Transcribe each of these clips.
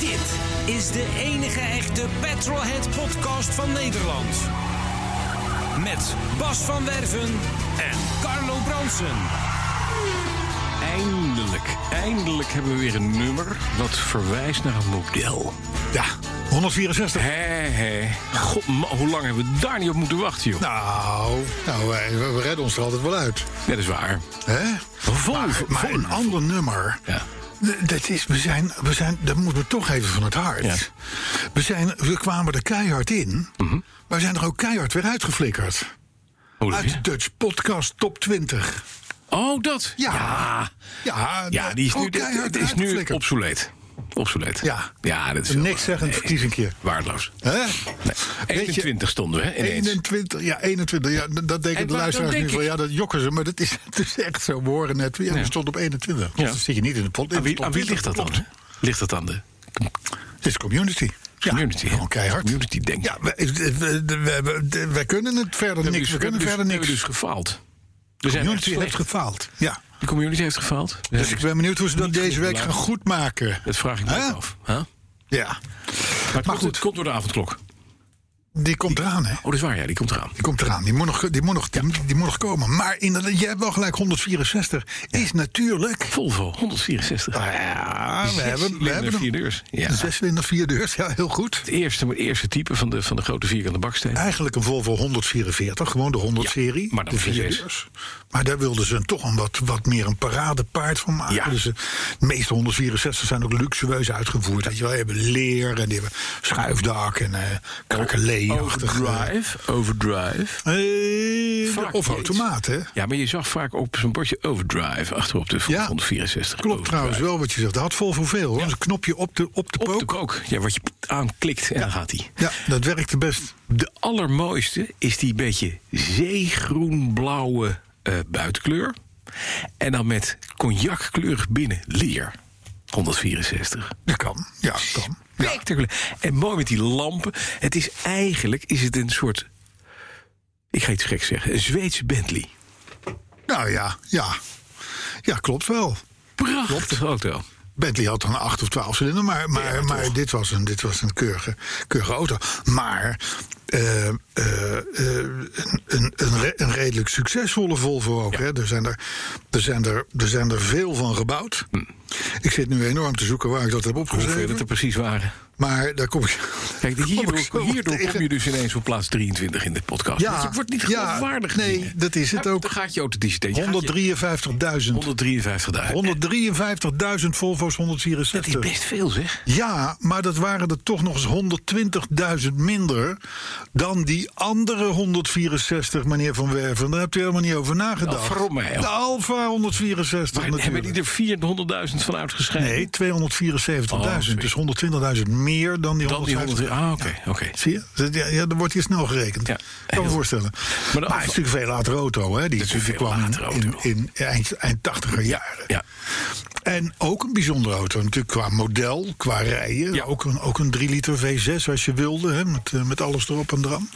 Dit is de enige echte Petrolhead podcast van Nederland. Met Bas van Werven en Carlo Bronsen. Eindelijk, eindelijk hebben we weer een nummer dat verwijst naar een model. Ja, 164. Hé, hé. God, man, hoe lang hebben we daar niet op moeten wachten, joh? Nou, nou wij, we we redden ons er altijd wel uit. dat is waar. Hè? Vol, Nou. Maar, maar vol- een ander nummer. Ja. D- Dat is, we zijn, we zijn, dat moeten we toch even van het hart. Ja. We, zijn, we kwamen er keihard in, maar we zijn er ook keihard weer uitgeflikkerd. Hoe doe Uit je? de Dutch Podcast Top 20. Oh, dat? Ja. Ja, Ja, Ja, dat- die is nu, gewoon keihard dat is nu uitgeflikkerd. obsoleet. Obsoleet. Ja. ja dat is Een wel- nikszeggend nee, verkiezingje. Waardeloos. Hè? Nee. Weet je- 21 stonden we, hè, ineens. 21, ja, 21. Ja, d- dat denken En de waar- luisteraars dan nu denk van, ik- ja, dat jokken ze. Maar dat is, het is echt zo, we horen net. Ja, we stonden op 21. Ja. Dus dan zit je niet in de pot. in Aan de wie, top aan wie ligt 20, dat dan? klopt. hè? Ligt dat aan de Het is community. Ja, community? hè? Gewoon keihard. Community, denk ik. Ja, wij, we, we, we- we- wij kunnen het verder We niks. We kunnen hebben dus- verder We hebben dus niks. gefaald. We zijn echt Community heeft slecht. gefaald. Ja. De community heeft gefaald. Dus ik ben benieuwd hoe ze dat Niet deze genoeg week gaan beluisterd. goedmaken. Dat vraag ik me Hè? ook af. Huh? Maar, Ja. het komt- goed. Het komt door de avondklok. Oh, Die komt eraan, hè? dat is waar, ja, die komt eraan. Die komt eraan. Die moet nog, die moet nog, die, die moet nog komen. Maar inderdaad, jij hebt wel gelijk. 164 is natuurlijk. Volvo, 164. Nou ja, we Zes hebben, we cilinder, hebben vier hem. deurs. Ja. Een Zes cilinder, vier deurs. Ja, heel goed. Het eerste, het eerste type van de, van de grote vierkante baksteen. Eigenlijk een Volvo 144, gewoon de 100-serie. maar dan de vier V6. deurs. Maar daar wilden ze toch een wat, wat meer een paradepaard van maken. Ja. Dus eh, de meeste 164 zijn ook luxueus uitgevoerd. Weet je wel, die hebben leer en die hebben schuifdak en eh krakelee-achtig. Overdrive. Overdrive. Eh, Vaak of niet. automaat, hè? Ja, maar je zag vaak op zo'n bordje Overdrive achterop de Ja. 164. Klopt trouwens wel wat je zegt. Dat had Volvo veel, hoor. Dus Een knopje op de, op de Op pook. de kook. Ja, wat je aanklikt en dan gaat hij. Ja, dat werkte best. De allermooiste is die beetje zeegroenblauwe eh buitenkleur. En dan met cognackleurig binnen leer. 164. Dat kan. Ja, dat kan. Ja. Spectaculair. En mooi met die lampen. Het is eigenlijk is het een soort. Ik ga iets geks zeggen. Een Zweedse Bentley. Nou ja, ja. Ja, klopt wel. Prachtige auto. Bentley had dan 8 of 12 cilinder, maar, maar, maar dit was een, dit was een keurige, keurige auto. Maar eh, eh, eh, een, een, een, re- een redelijk succesvolle Volvo ook. Hè? Er, zijn er, er, zijn er, er zijn er veel van gebouwd. Hm. Ik zit nu enorm te zoeken waar ik dat heb Hoeveel opgeschreven. dat er precies waren. Maar daar kom ik. Kijk, daar kom ik hierdoor, zo hierdoor tegen. kom je dus ineens op plaats 23 in de podcast. Ja, Want je wordt niet ja, geloofwaardig. nee, hier. dat is het Ja, ook. Dan gaat je auto digitaal. 153.000. 153.000. 153.000 Volvo's Dat is 164. best veel, zeg. Ja, maar dat waren er toch nog eens 120.000 minder dan die andere 164, meneer Van Werven. Daar hebt u helemaal niet over nagedacht. Nou, verrot mij, joh. De Alfa 164 Maar natuurlijk. hebben die er 400.000 van uitgeschreven? Nee, 274.000. Oh, sorry. dus 120.000 meer dan die Dan die 100. 150. Ah, oké. oké. Zie je? Dat- Ja, ja, dan wordt hier snel gerekend. Ja, kan me heel- voorstellen. de Maar, het Alfa- is natuurlijk veel later auto. Hè? Die, is een die veel kwam later auto. in, in eind, eind 80er jaren. Ja. En ook een bijzondere auto, natuurlijk qua model, qua rijen. Ja. Ook, een, ook een 3 liter V6 als je wilde, hè, met, eh, met alles erop en eraan.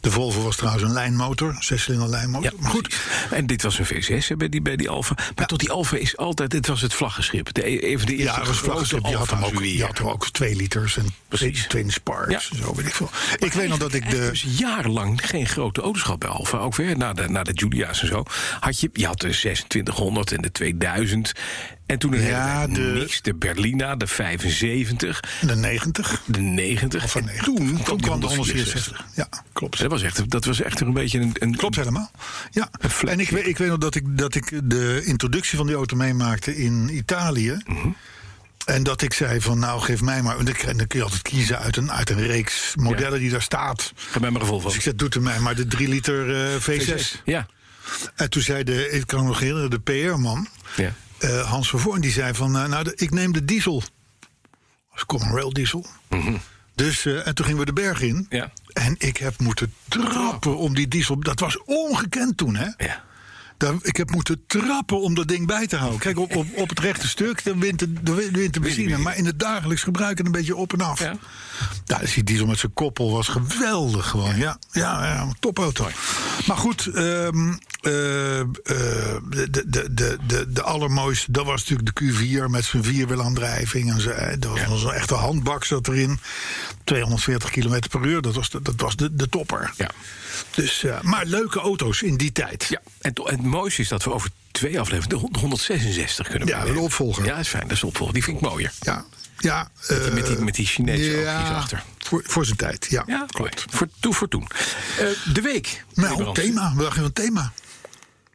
De Volvo was trouwens een lijnmotor, zescilinder Ja, lijnmotor. maar goed, precies. En dit was een V6 hè, bij die, bij die Alfa. Maar tot die Alfa is altijd... Dit was het vlaggenschip. De, een van de eerste ja, het was grote vlaggenschip. Je had, hem Alfa's ook, weer. je had hem ook 2 liters en Precies. twee, twee Sparks. Ja. en Zo weet ik veel. ik weet nog dat ik Er de. was dus jarenlang geen grote auto's gehad bij Alfa. Ook weer na de, na de Julia's en zo. Had je, je had de 2600 en de 2000. En toen een Ja, hele de- niks. De Berlina, de 75, De 90. de 90. Van en 90. toen, En kwam die kwam de 164. 164. Ja, klopt. Dat was echt, dat was echt een beetje een... een Klopt helemaal. Ja. Een flagship. En ik, weet- Mhm. ik weet nog dat ik, dat ik de introductie van die auto meemaakte in Italië. En dat ik zei van nou geef mij maar. En dan kun je altijd kiezen uit een, uit een reeks modellen die daar staat. Geef mij maar een Volvo. Dus ik zei, doet er mij maar de 3 liter eh, V6. Ja. En toen zei de, ik kan me nog herinneren, de PR-man, Ja. eh, Hans van Voorn, die zei van, eh, nou, de- ik neem de diesel. Dat is Common Rail diesel. Dus, eh, en toen gingen we de berg in. Ja. En ik heb moeten trappen om die diesel. Dat was ongekend toen, hè? ja. Daar- ik heb moeten trappen om dat ding bij te houden. Kijk, op, op, op het rechte stuk dan wint de, de, wint de benzine. Maar in het dagelijks gebruik het een beetje op en af. Ja. Ja. dus die diesel met zijn koppel was geweldig gewoon. Ja, ja, ja een topauto. Maar goed, ehm, eh, eh, de, de, de, de, de allermooiste... dat was natuurlijk de Q4 met zijn vierwielaandrijving. En zo, hè. dat was een echte handbak zat erin. 240 km per uur, dat was de, dat was de, de topper. Ja. Dus, eh, maar leuke auto's in die tijd. ja. En to- en het mooiste is dat we over twee afleveringen de hon- 166 kunnen Ja, meenemen. de opvolger. Ja, is fijn. Dat is de opvolger. Die vind ik mooier. Ja, ja. eh, Met die, met die Chinese oogjes achter. Voor, voor zijn tijd, ja. Ja, klopt. Voor, toe voor toen. Eh, de week. meneer Nou, Brands. thema. Wat dacht je van thema?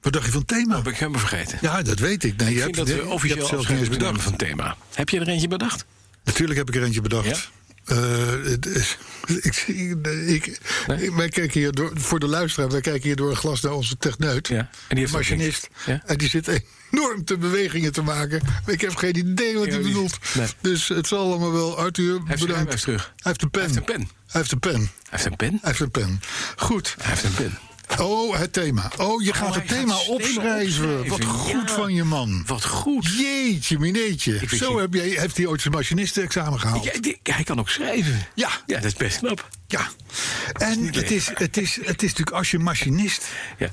Wat dacht je van thema? Dat ben ik helemaal vergeten. Ja, dat weet ik. Nee, je Oh, ik vind hebt, dat je we hebt officieel zelfs niet eens bedacht. van thema. Heb je er eentje bedacht? Natuurlijk heb ik er eentje bedacht. Ja? Eh, het is- ik, zie- ik, Nee? Wij kijken hier door, voor de luisteraar, wij kijken hier door een glas naar onze techneut. Ja. En die heeft ook machinist. niks. Ja? En die zit enorm te bewegingen te maken. Ik heb geen idee wat Ja, hij die- bedoelt. Nee. Dus het zal allemaal wel. Arthur, zijn bedankt. rijbewijs terug. Hij heeft een pen. heeft een pen. Hij heeft een pen. Hij heeft een pen. Hij heeft een pen. Goed. Hij heeft een pen. Oh, het thema. Oh, je gaat hij het gaat thema het thema opschrijven. Wat opschrijven, goed ja. van je man. Wat goed. Jeetje, mineetje. vind Zo je- heb jij, heeft hij ooit zijn machinistenexamen gehaald. Ja, die- hij kan ook schrijven. Ja. ja dat is best knap. Ja. En het is, het, is, het is natuurlijk als je machinist Ja.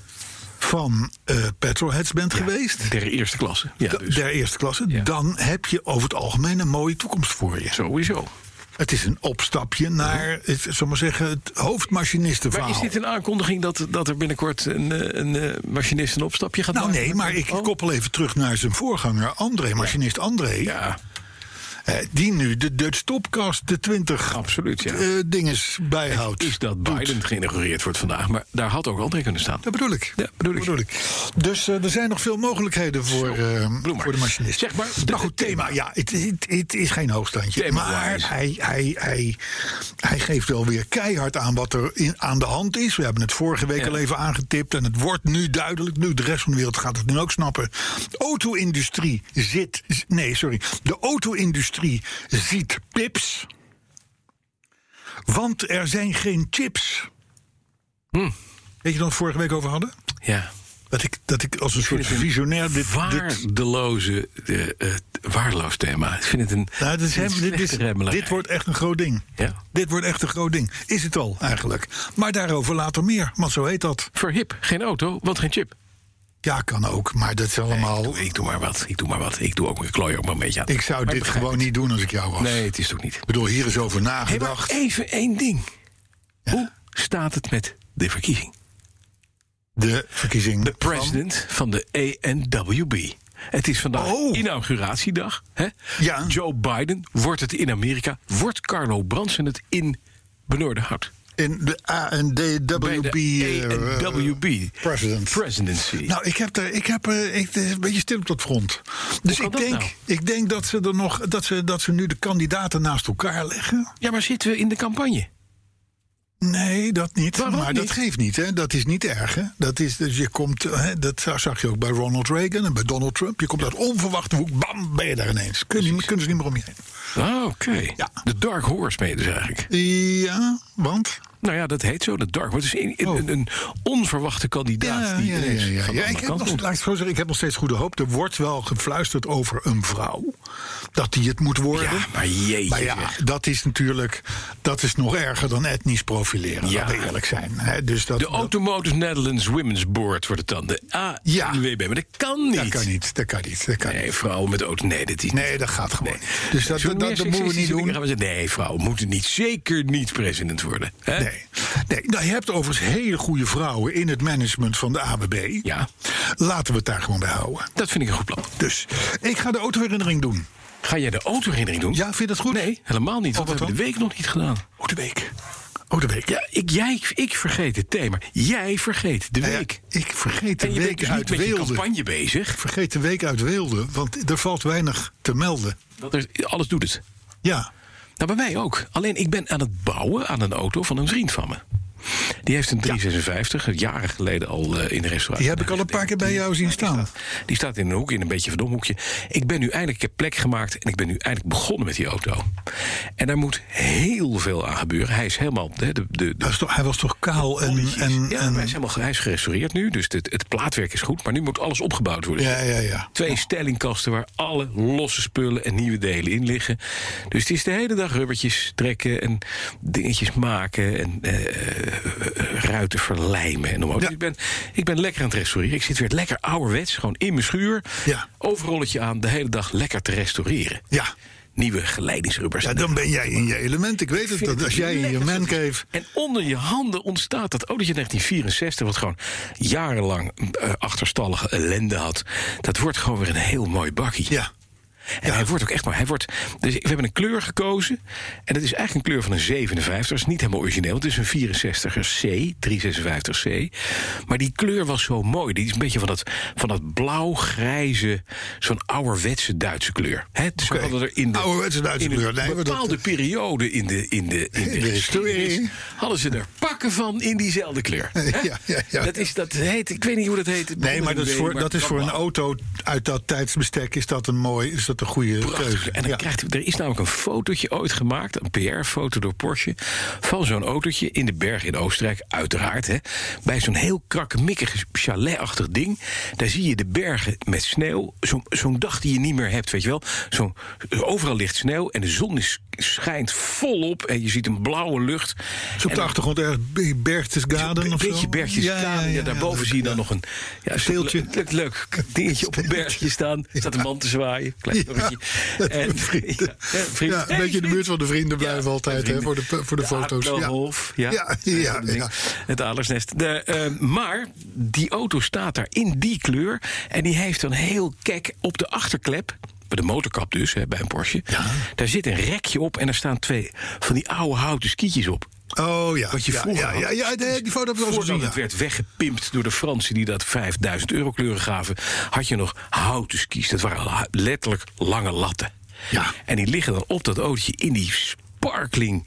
van eh petrolheads bent geweest... Der eerste klasse. Ja, da- dus. der eerste klasse, Ja. dan heb je over het algemeen een mooie toekomst voor je. Sowieso. Het is een opstapje naar, het, zullen we maar zeggen, het hoofdmachinistenverhaal. Maar is dit een aankondiging dat, dat er binnenkort een, eh, een eh, machinist een opstapje gaat Nou maken? nee, maar ik Oh. koppel even terug naar zijn voorganger André, machinist André. Ja, Eh, die nu de Dutch Topcast, de 20 Absoluut, ja. eh, dinges bijhoudt. is dat Doet. Biden geïnaugureerd wordt vandaag. Maar daar had ook André kunnen staan. Dat bedoel ik. Ja, bedoel ik. Dus eh, er zijn nog veel mogelijkheden voor, eh, bedoel maar. voor de machinist. Zeg maar, de- maar goed, de- thema. Ja, het, het, het is geen hoogstandje. Thema-wise. maar hij, hij, hij, hij geeft wel weer keihard aan wat er in, aan de hand is. We hebben het vorige week Ja. al even aangetipt. En het wordt nu duidelijk. Nu, de rest van de wereld gaat het nu ook snappen. De auto-industrie zit... Nee, sorry. De auto-industrie ziet pips. Want er zijn geen chips. Hm. Weet je dat we het vorige week over hadden? Ja. Dat ik, dat ik als een soort vind het een visionair dit... Nou, dit Waardeloze, eh, eh, waardeloos thema. Ik vind het een, nou, dit, is een hem- dit, is- slechte remmelerij. dit wordt echt een groot ding. Ja. Dit wordt echt een groot ding. Is het al, eigenlijk. Maar daarover later meer, want zo heet dat. Verhip, geen auto, want geen chip. Ja, kan ook, maar dat is allemaal... Ik doe, ik, ik doe maar wat, ik doe maar wat. Ik doe ook, ik klooi ook maar een beetje aan. zou Maar dit begrijp gewoon niet doen als ik jou was. het. Nee, het is toch niet. Ik bedoel, hier is over Hey, maar nagedacht. even één ding. Hoe staat het met de verkiezing? de verkiezing. De president van de ANWB. Het is vandaag Oh. inauguratiedag. Hè? Ja. Joe Biden wordt het in Amerika. Wordt Carlo Bransen het in Benoordenhout? in de Bij ANDWB... de eh, ANWB president. presidency. Nou, ik heb er, ik heb er, ik, het is een beetje stil op het front. Dus kan ik dat denk, nou? ik denk dat ze er nog, dat ze, dat ze nu de kandidaten naast elkaar leggen. ja, maar zitten we in de campagne? Nee, dat niet. Waarom maar niet? dat geeft niet, hè? Dat is niet erg, hè? Dat is, dus je komt, hè, dat zag je ook bij Ronald Reagan en bij Donald Trump. Je komt uit onverwachte hoek, bam, ben je daar ineens. Kun je, niet- kunnen ze niet meer om je heen. Ah, oké. Ja. De Dark Horse mee dus eigenlijk. Ja, want? Nou ja, dat heet zo, de Dark Horse. Het is een, een, Oh. een, een onverwachte kandidaat Ja, die ja, ja, ineens ja, ja. van de Ja, ik, andere heb kant nog, komt. laat ik het zo zeggen, ik heb nog steeds goede hoop. Er wordt wel gefluisterd over een vrouw. Dat die het moet worden. Ja, maar jeetje Maar ja, zeg. dat is natuurlijk dat is nog erger dan etnisch profileren. Ja. Laten we eerlijk zijn. hè. dus dat, De Automotive Netherlands Women's Board wordt het dan. De Ja. ANWB. Maar dat kan niet. dat, dat kan niet. Dat kan niet. Dat kan niet. Nee, vrouwen met auto. Nee, dat is niet. Nee, dat gaat gewoon niet. Dus Dus dat, dat, dat moeten we niet doen. nee, vrouwen moeten niet, zeker niet president worden. Hè? Nee. nee. Nou, je hebt overigens hele goede vrouwen in het management van de ABB. Ja, Laten we het daar gewoon bij houden. dat vind ik een goed plan. Dus ik ga de autoherinnering doen. Ga jij de autoherinnering doen? Ja, vind je dat goed? Nee, helemaal niet. Want Oh, we wat hebben de week nog niet gedaan. Hoe de week. Oh, de week. Ja, ik, jij, ik vergeet het thema. Jij vergeet de Nou ja, week. ik vergeet de en je bent week dus uit niet met je Weelde. campagne bezig. Ik vergeet de week uit Weelde, want er valt weinig te melden. Dat is, alles doet het. Ja, Nou, bij mij ook. Alleen ik ben aan het bouwen aan een auto van een vriend van me. Die heeft een 356, jaren geleden al eh, in de restaurant. die heb ik al een paar keer bij jou zien staan. Die staat in een hoek, in een beetje verdomd hoekje. Ik ben nu eindelijk, ik heb plek gemaakt en ik ben nu eindelijk begonnen met die auto. En daar moet heel veel aan gebeuren. Hij is helemaal, hè, de, de, de Hij was toch, hij was toch kaal en... en, ja, en- hij, is helemaal, hij is gerestaureerd nu, dus het, het plaatwerk is goed. Maar nu moet alles opgebouwd worden. ja, ja, ja. Twee stellingkasten waar alle losse spullen en nieuwe delen in liggen. Dus het is de hele dag rubbertjes trekken en dingetjes maken en eh, eh, ruiten verlijmen. En noem maar op. Ja. Dus ik, ben, ik ben lekker aan het restaureren. Ik zit weer lekker ouderwets, gewoon in mijn schuur. Ja. Overrolletje aan, de hele dag lekker te restaureren. Ja. Nieuwe geleidingsrubbers. Ja, dan ben jij in je element. Ik weet het. vind Dat het als jij in je lekker. mancave... En onder je handen ontstaat dat autootje 1964, wat gewoon jarenlang eh, achterstallige ellende had. Dat wordt gewoon weer een heel mooi bakkie. Ja. En hij wordt ook echt maar. Hij wordt, dus we hebben een kleur gekozen. En dat is eigenlijk een kleur van een 57. Dat is niet helemaal origineel. Het is een 64er C, 356 C. Maar die kleur was zo mooi. Die is een beetje van dat, van dat blauw-grijze, zo'n ouderwetse Duitse kleur. Hè, zo Oké. hadden er in de, Ouderwetse Duitse in een kleur. Nee, maar dat- bepaalde periode in de, in de, in de, de historie. geschiedenis Hadden ze er pakken van in diezelfde kleur. Hè? Ja, ja, ja. Dat is, dat heet, ik weet niet hoe dat heet. Nee, maar dat is voor, dat is voor een blauw. auto uit dat tijdsbestek is dat een mooi, is dat een goede Prachtig. keuze. En dan Ja. krijgt, hij- er is namelijk een fotootje ooit gemaakt, een PR-foto door Porsche, van zo'n autootje in de berg in Oostenrijk, uiteraard. Hè, bij zo'n heel krakkemikkig chaletachtig ding. Daar zie je de bergen met sneeuw. Zo'n zo'n dag die je niet meer hebt, weet je wel. Zo'n overal ligt sneeuw en de zon is, schijnt volop en je ziet een blauwe lucht. Zo op de En- achtergrond ergens Berchtesgaden een of zo. beetje bergjes ja, daarboven zie je dan nog een ja, een Steeltje. soort Leuk, leuk dingetje op een bergje staan. Er staat een man te zwaaien. Klein Ja, torentje. dat En- zijn vrienden. Ja, hè, vriend. Ja, een Hey, beetje in de vriend. buurt van de vrienden blijven Ja, altijd, vrienden. hè, voor de, voor de, foto's. Adler, Ja. Wolf, ja. Ja, ja, Dat ding. ja. Het adelersnest. De, eh, maar die auto staat daar in die kleur. En die heeft een heel kek op de achterklep. Bij de motorkap dus, hè, bij een Porsche. Daar zit een rekje op en daar staan twee van die oude houten skietjes op. Oh ja. Wat je ja, vroeger ja, had. ja, ja, nee, die foto heb ik wel eens Voordat gezien. het ja. werd weggepimpt door de Fransen die dat 5000 euro kleuren gaven, had je nog houten skis. Dat waren la- letterlijk lange latten. Ja. En die liggen dan op dat autootje in die sparkling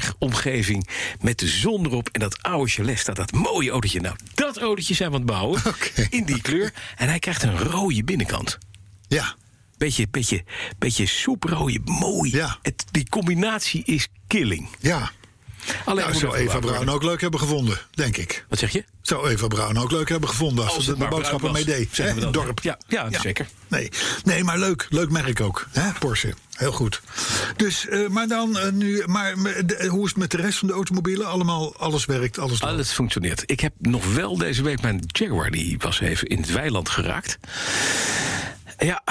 bergomgeving met de zon erop en dat oude chalet staat dat mooie autootje. Nou, dat autootje zijn we aan het bouwen Oké. in die kleur en hij krijgt een rode binnenkant. Ja. Beetje, beetje, beetje soeprooie, mooi. Ja. Het, die combinatie is killing. Ja. Alleen Nou, moet zou het Eva gebouwd Braun worden. ook leuk hebben gevonden, denk ik. Wat zeg je? Zou Eva Braun ook leuk hebben gevonden als, Als ze het de maar boodschappen bruin mee was, deed. zeggen hè, we dan. dorp. Ja, ja, zeker. Nee. nee, maar leuk. Leuk merk ook. Hè, Porsche. Heel goed. Dus, eh, maar dan eh, nu. Maar me- de- eh, hoe is het met de rest van de automobielen? Allemaal, alles werkt, alles loopt. Alles functioneert. Ik heb nog wel deze week mijn Jaguar, die was even in het weiland geraakt. Ja,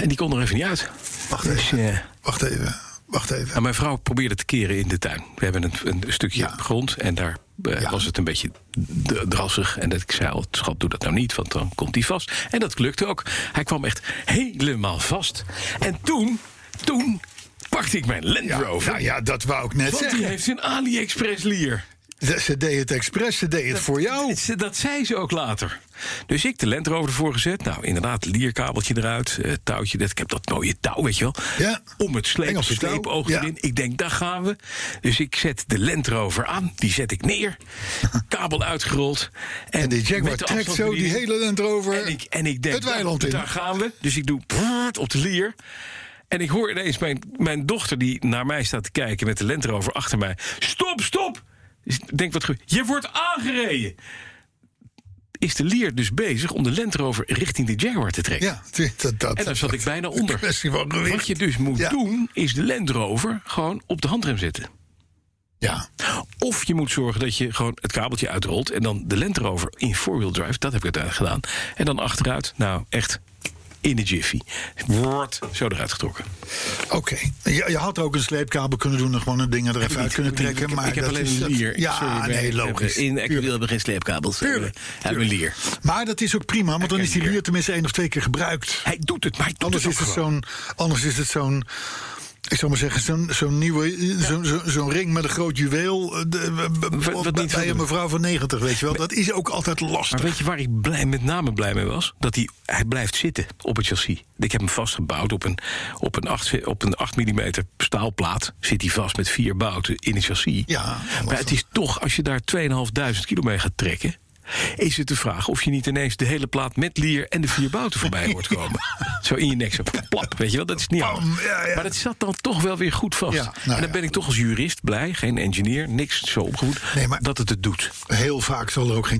en die kon er even niet uit. Wacht Dus, even. eh, Wacht even. Wacht even. nou, mijn vrouw probeerde te keren in de tuin. We hebben een, een stukje Ja. grond en daar eh, Ja. was het een beetje d- drassig. En dat, ik zei al, schat, doe dat nou niet, want dan komt hij vast. En dat lukte ook. Hij kwam echt helemaal vast. En toen, toen pakte ik mijn Land Rover. Nou ja, dat wou ik net want die zeggen. heeft een AliExpress lier. Ze- Ze deed het expres, ze deed het voor jou. Dat, dat zei ze ook later. Dus ik de Land Rover ervoor gezet. Nou, inderdaad, lierkabeltje eruit, eh, touwtje. Dat, ik heb dat mooie touw, weet je wel. Ja. Om het sleep, Engelse touw, sleepoog ja. erin. Ik denk, daar gaan we. Dus ik zet de Land Rover aan. Die zet ik neer. Kabel uitgerold. En die Jaguar met de trekt zo die afstandsbediening. hele Land Rover En ik, en ik denk, het weiland daar, in. daar gaan we. Dus ik doe prrrt op de lier. En ik hoor ineens mijn, mijn dochter die naar mij staat te kijken met de Land Rover achter mij. Stop, stop! Dus ik Denk wat gebeurt. Je wordt aangereden! Is de lier dus bezig om de Land Rover richting de Jaguar te trekken? Ja, dat, dat, En daar zat ik bijna onder. kwestie van gewicht. Wat je dus moet Ja. doen, is de Land Rover gewoon op de handrem zetten. Ja. Of je moet zorgen dat je gewoon het kabeltje uitrolt... en dan de Land Rover in four-wheel drive, dat heb ik uiteindelijk gedaan... en dan achteruit, nou echt in de jiffy. Wordt zo eruit getrokken. Oké. Je, je had ook een sleepkabel kunnen doen en gewoon een ding er even uit kunnen trekken. ik, maar ik heb dat alleen is- een lier. Ja, Sorry, wij nee, logisch. hebben- In Ecuador hebben we geen sleepkabels. Tuurlijk. Hebben we een lier. Maar dat is ook prima, want dan Ik is die heb lier tenminste één of twee keer gebruikt. Hij doet het, maar hij doet Anders het is ook het gewoon. zo'n. Anders is het zo'n. Ik zou maar zeggen, zo'n zo'n nieuwe, zo'n zo'n- zo'n ring met een groot juweel. eh, de- b- b- Wat- wat bij- niet veel bij doen. een mevrouw van 90, weet je wel. Dat is ook altijd Maar lastig. weet je waar ik blij, met name blij mee was? Dat hij, hij blijft zitten op het chassis. Ik heb hem vastgebouwd op een, op een, 8, op een 8 mm staalplaat. Zit hij vast met vier bouten in een chassis. Ja, maar lastig. het is toch, als je daar 2500 kilo mee gaat trekken... is het de vraag of je niet ineens de hele plaat met lier... en de vier bouten voorbij hoort komen. Zo in je nek, zo plap, weet je wel. Dat is niet Bam, handig. ja, ja. Maar dat zat dan toch wel weer goed vast. eh. Ja, nou en dan ja. ben ik toch als jurist blij, geen engineer... niks zo opgevoed, Nee, maar- dat het het doet. Heel vaak zal er ook geen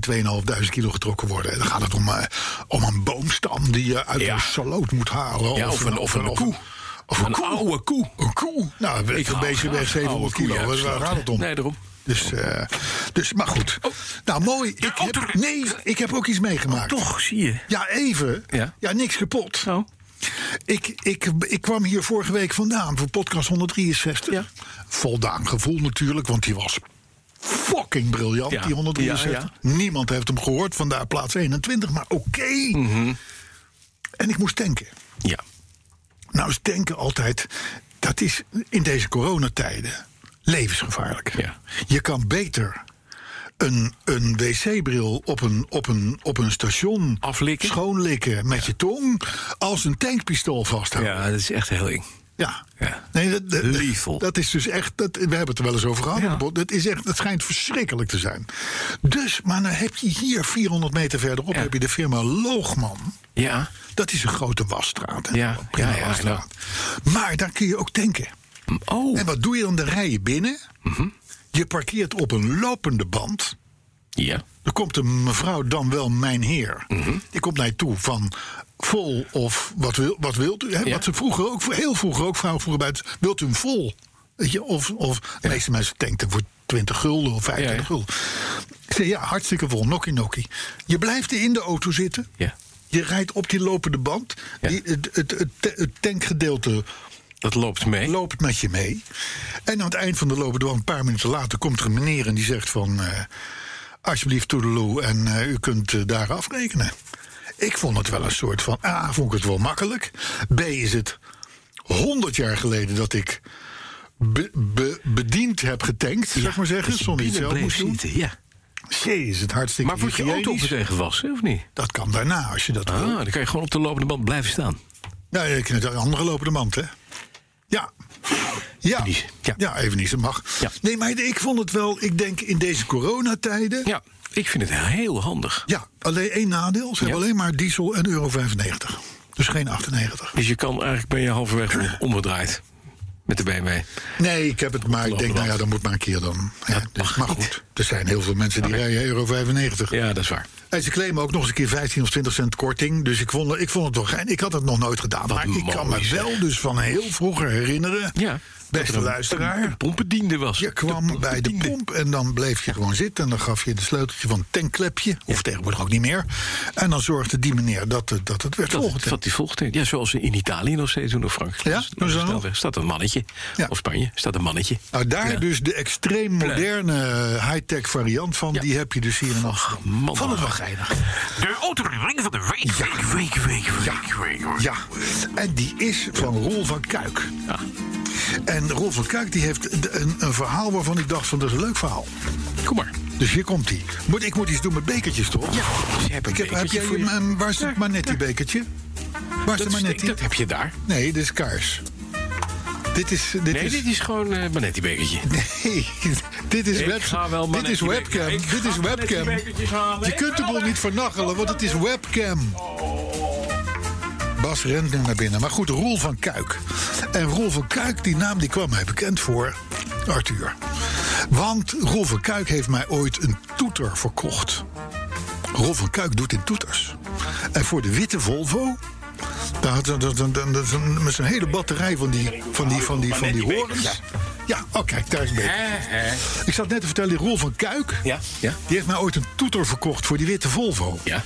2.500 kilo getrokken worden. Dan gaat het om, eh, om een boomstam die je uit Ja. een saloot moet halen. Ja, of een- of een koe. Of een, Een koe. oude koe. Een koe. Nou, Ik weet een hou beetje graag weg 700 oude koeien kilo. uit Waar de sloot. gaat het om? Nee, daarom. Dus, eh, dus, maar goed. Nou, mooi. Ik oh, heb, toch. nee, ik heb ook iets meegemaakt. Toch, zie je. Ja, even. Ja. Ja, niks kapot. Nou, Ik, ik, ik kwam hier vorige week vandaan voor podcast 163. Ja. Voldaan gevoel natuurlijk, want die was fucking briljant, Ja. die 163. Ja, Niemand heeft hem gehoord, vandaar plaats 21, maar oké. Mhm. En ik moest tanken. ja. Nou is tanken altijd, dat is in deze coronatijden levensgevaarlijk. Ja. Je kan beter een, een wc-bril op een, op, een, op een station Aflikken? schoonlikken met je tong... als een tankpistool vasthouden. Ja, dat is echt heel eng. Ja. Ja. Nee, dat, dat, Lethal. dat is dus echt. Dat, we hebben het er wel eens over gehad. Ja. Dat, is echt, dat schijnt verschrikkelijk te zijn. Dus, maar dan heb je hier 400 meter verderop Ja. heb je de firma Loogman. Ja. Dat is een grote wasstraat. hè. Ja, Prima ja, ja, wasstraat. Maar daar kun je ook tanken. Oh, En wat doe je dan? Dan rij je binnen. Mhm. Je parkeert op een lopende band. ja. Er komt een mevrouw, dan wel mijn heer. Mhm. Die komt naar je toe van vol of wat, wil, wat wilt u? Hè? Ja. Wat ze vroeger ook, heel vroeger ook vragen vroeger bij het, wilt u hem vol? Weet je, of, of de meeste mensen tankten voor 20 gulden of 25 Ja, ja. gulden. Ik zei, ja, hartstikke vol, nokkie nokkie. Je blijft in de auto zitten. Ja. Je rijdt op die lopende band. Ja. Die, het, het, het, het tankgedeelte Dat loopt mee. loopt met je mee. En aan het eind van de lopende band, een paar minuten later, komt er een meneer en die zegt van... eh, alsjeblieft, toedeloe, en eh, u kunt eh, daar afrekenen. Ik vond het wel een soort van... A, vond ik het wel makkelijk. B, is het 100 jaar geleden dat ik be- be- bediend heb getankt, Ja, zeg maar zeggen. dat je Zonder iets binnen zelf moest bleef doen. zitten, Ja. C, is het hartstikke Maar wordt je auto hygiënisch. tegen wassen, of niet? Dat kan daarna, als je dat Ah, wil. dan kan je gewoon op de lopende band blijven staan. Nou, je kunt een andere lopende mand, hè? Ja. Ja. niezen. Ja. ja. even niet, dat mag. Ja. Nee, maar ik vond het wel, ik denk in deze coronatijden. Ja, ik vind het heel handig. Ja, alleen één nadeel. Ze hebben alleen maar diesel en euro 95. Dus geen 98. Dus je kan eigenlijk ben je halverwege om- omgedraaid. Met de BMW. Nee, ik heb het, maar ik denk, Lopende nou ja, band. dan moet maar een keer dan. hè. Dat dus, mag niet. maar goed, er zijn heel veel mensen die rijden euro 95. Ja, dat is waar. En ze claimen ook nog eens een keer 15 of 20 cent korting. Dus ik vond, ik vond het wel gein. Ik had het nog nooit gedaan. maar ik mooi, kan me zeg. wel dus van heel vroeger herinneren. Ja. Beste luisteraar. De pompendiende was. Je kwam bij de pompendiende. pomp en dan bleef je gewoon zitten. En dan gaf je de sleuteltje van het tankklepje. Of tegenwoordig ook niet meer. En dan zorgde die meneer dat, het- dat het werd Dat, dat volgetankt. die volgt. Ja, zoals ze in Italië nog steeds doen, of Frankrijk. Ja, Langs de doen ze dat snelweg Staat een mannetje. Ja. Of Spanje, staat een mannetje. Nou, daar Ja. dus de extreem moderne eh, high-tech variant van. Die heb je dus hier en nog. man, Van het wel man. geinig. De autoring van de week. Week, week, week, week, week, week. Ja, en die is van Roel van Kuik. En Roel van Kuik die heeft de- een, een verhaal waarvan ik dacht van dat is een leuk verhaal. Kom maar. Dus hier komt hij. Moet, ik moet iets doen met bekertjes, toch? Ja, Je hebt een ik heb, heb bekertje jij, voor je. hem, eh, waar is het Manetti bekertje? Waar is Dat, het is- Manetti? dat heb je daar. Nee, dit is kaars. Dit is... Dit Nee, is, dit is gewoon eh Manetti-bekertje. Nee, dit is, Ik web, ga wel dit is Manetti webcam. beker- Ik Dit ga is webcam. Manetti bekertjes halen. Je Ik kunt de ga boel wel- niet vernachelen, want het is webcam. Bas rent nu naar binnen. Maar goed, Roel van Kuik. En Roel van Kuik, die naam die kwam mij bekend voor Arthur. Want Roel van Kuik heeft mij ooit een toeter verkocht. Roel van Kuik doet in toeters. En voor de witte Volvo... Daar had, dat, dat, dat, dat, met zo'n hele batterij van die, van die, van die, van die horens. Ja, oh kijk, daar is het beter. Ik zat net te vertellen, die Roel van Kuik... Eh, Ja, ja. die heeft mij ooit een toeter verkocht voor die witte Volvo. Ja.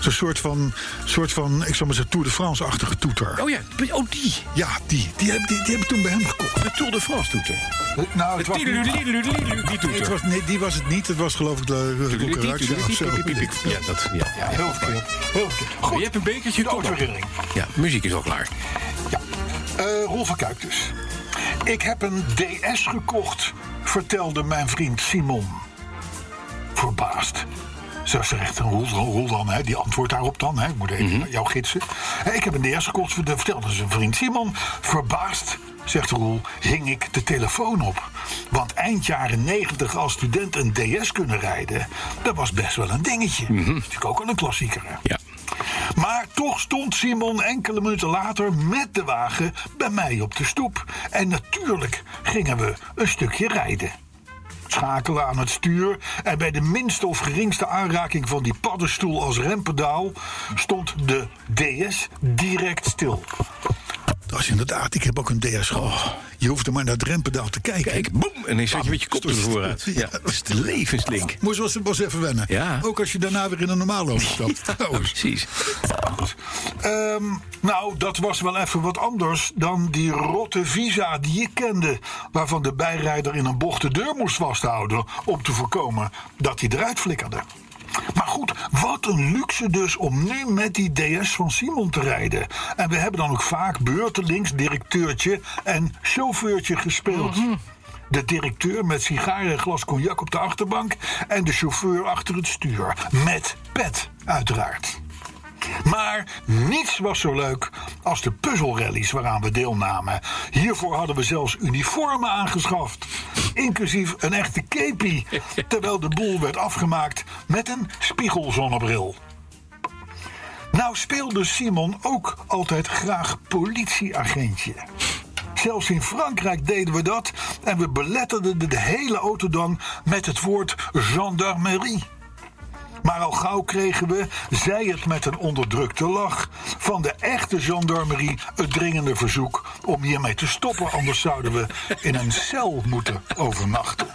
Zo'n soort van, soort van, ik zal maar zeggen, Tour de France-achtige toeter. Oh ja, oh die. Ja, die, die, heb, die, die heb ik toen bij hem gekocht. De Tour de France toeter. Nou, het was, Tiedeliedeliedeliedeliedelied, Die het toeter. was, nee, die was het niet. Het was geloof ik de Cucaracha of zo. Ja, dat. Ja, ja, heel verkeerd. Heel Je hebt een bekertje. kom maar. Ja, muziek is al klaar. Eh, Roel van Kuik dus. Ik heb een DS gekocht, vertelde mijn vriend Simon. Verbaasd. Zo zegt een rol, rol dan, hè, die antwoordt daarop dan. Hè. Ik moet even jou gidsen. Hé, Ik heb een DS gekocht, vertelde zijn vriend Simon. Verbaasd, zegt Roel, hing ik de telefoon op. Want eind jaren 90 als student een DS kunnen rijden... dat was best wel een dingetje. Dat is natuurlijk ook wel een klassieker. Hè. Ja. Maar toch stond Simon enkele minuten later met de wagen bij mij op de stoep. En natuurlijk gingen we een stukje rijden. Schakelen aan het stuur en bij de minste of geringste aanraking van die paddenstoel als rempedaal stond de DS direct stil. Dat is inderdaad, ik heb ook een DS gehad. Je hoeft er maar naar het rempedaal te kijken. Kijk, boem, en dan zat je met je kop er vooruit. Ja, dat is de levenslink. Moest was het even wennen. Ja. Ook als je daarna weer in een normale Oh, overstapt. Ja, precies. Ehm, nou, dat was wel even wat anders dan die rotte visa die ik kende. Waarvan de bijrijder in een bocht de deur moest vasthouden. om te voorkomen dat hij eruit flikkerde. Maar goed, wat een luxe dus om nu met die DS van Simon te rijden. En we hebben dan ook vaak beurtelings directeurtje en chauffeurtje gespeeld. De directeur met sigaar en glas cognac op de achterbank. en de chauffeur achter het stuur. Met pet, uiteraard. Maar niets was zo leuk als de puzzelrallies waaraan we deelnamen. Hiervoor hadden we zelfs uniformen aangeschaft. Inclusief een echte kepi. Terwijl de boel werd afgemaakt met een spiegelzonnebril. Nou speelde Simon ook altijd graag politieagentje. Zelfs in Frankrijk deden we dat en we beletterden de hele autodan met het woord gendarmerie. Maar al gauw kregen we, zij het met een onderdrukte lach, van de echte gendarmerie het dringende verzoek om hiermee te stoppen. Anders zouden we in een cel moeten overnachten.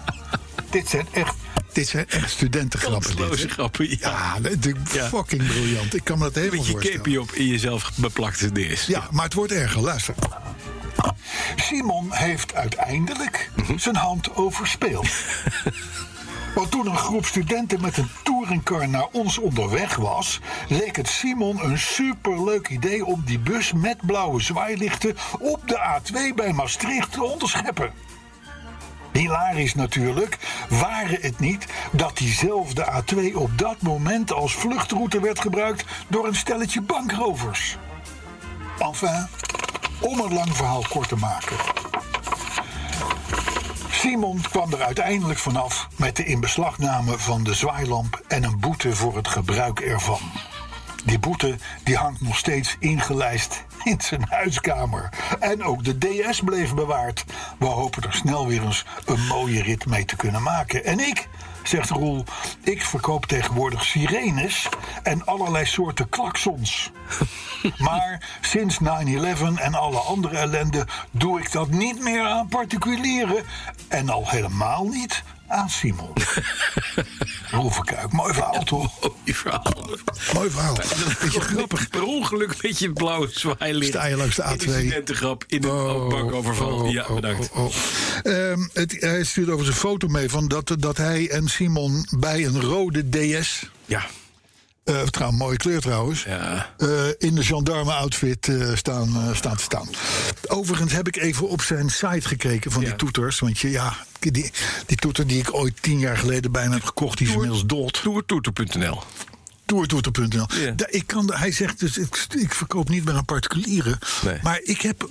Dit zijn echt, dit zijn echt studentengrappen. Kansloze grappen, ja. natuurlijk Ja. fucking briljant. Ik kan me dat helemaal Met je kepi op in jezelf beplakte DS. ja, maar het wordt erger. Luister. Simon heeft uiteindelijk zijn hand overspeeld. Want toen een groep studenten met een touringcar naar ons onderweg was, leek het Simon een superleuk idee om die bus met blauwe zwaailichten op de A2 bij Maastricht te onderscheppen. Hilarisch natuurlijk, waren het niet dat diezelfde A2 op dat moment als vluchtroute werd gebruikt door een stelletje bankrovers. Enfin, om een lang verhaal kort te maken. Simon kwam er uiteindelijk vanaf met de inbeslagname van de zwaailamp en een boete voor het gebruik ervan. Die boete die hangt nog steeds ingelijst in zijn huiskamer. En ook de DS bleef bewaard. We hopen er snel weer eens een mooie rit mee te kunnen maken. En ik, zegt Roel, ik verkoop tegenwoordig sirenes en allerlei soorten klaksons. Maar sinds 9-11 en alle andere ellende doe ik dat niet meer aan particulieren. En al helemaal niet aan Simon. Roel Verkuik, mooi verhaal toch? Mooi Oh, verhaal. Mooi verhaal. Beetje grappig. Per ongeluk met je blauwe zwaailicht. Sta je langs de In een A2. studentengrap in een bankoverval. oh, ja, oh, bedankt. oh, oh. Ehm, het, hij stuurt over zijn foto mee van dat, dat hij en Simon bij een rode DS. Ja, eh trouwens, mooie kleur trouwens. ja. eh, in de gendarme outfit eh, staan, eh, staan te staan. Overigens heb ik even op zijn site gekeken van Ja. die toeters. Want je, ja, die, die toeter die ik ooit tien jaar geleden bijna heb gekocht, die is inmiddels dood. Toertoeter.nl. Toertoeter.nl. Ja. Da- Ik kan, hij zegt dus, ik, ik verkoop niet meer aan particulieren. Nee. Maar ik heb,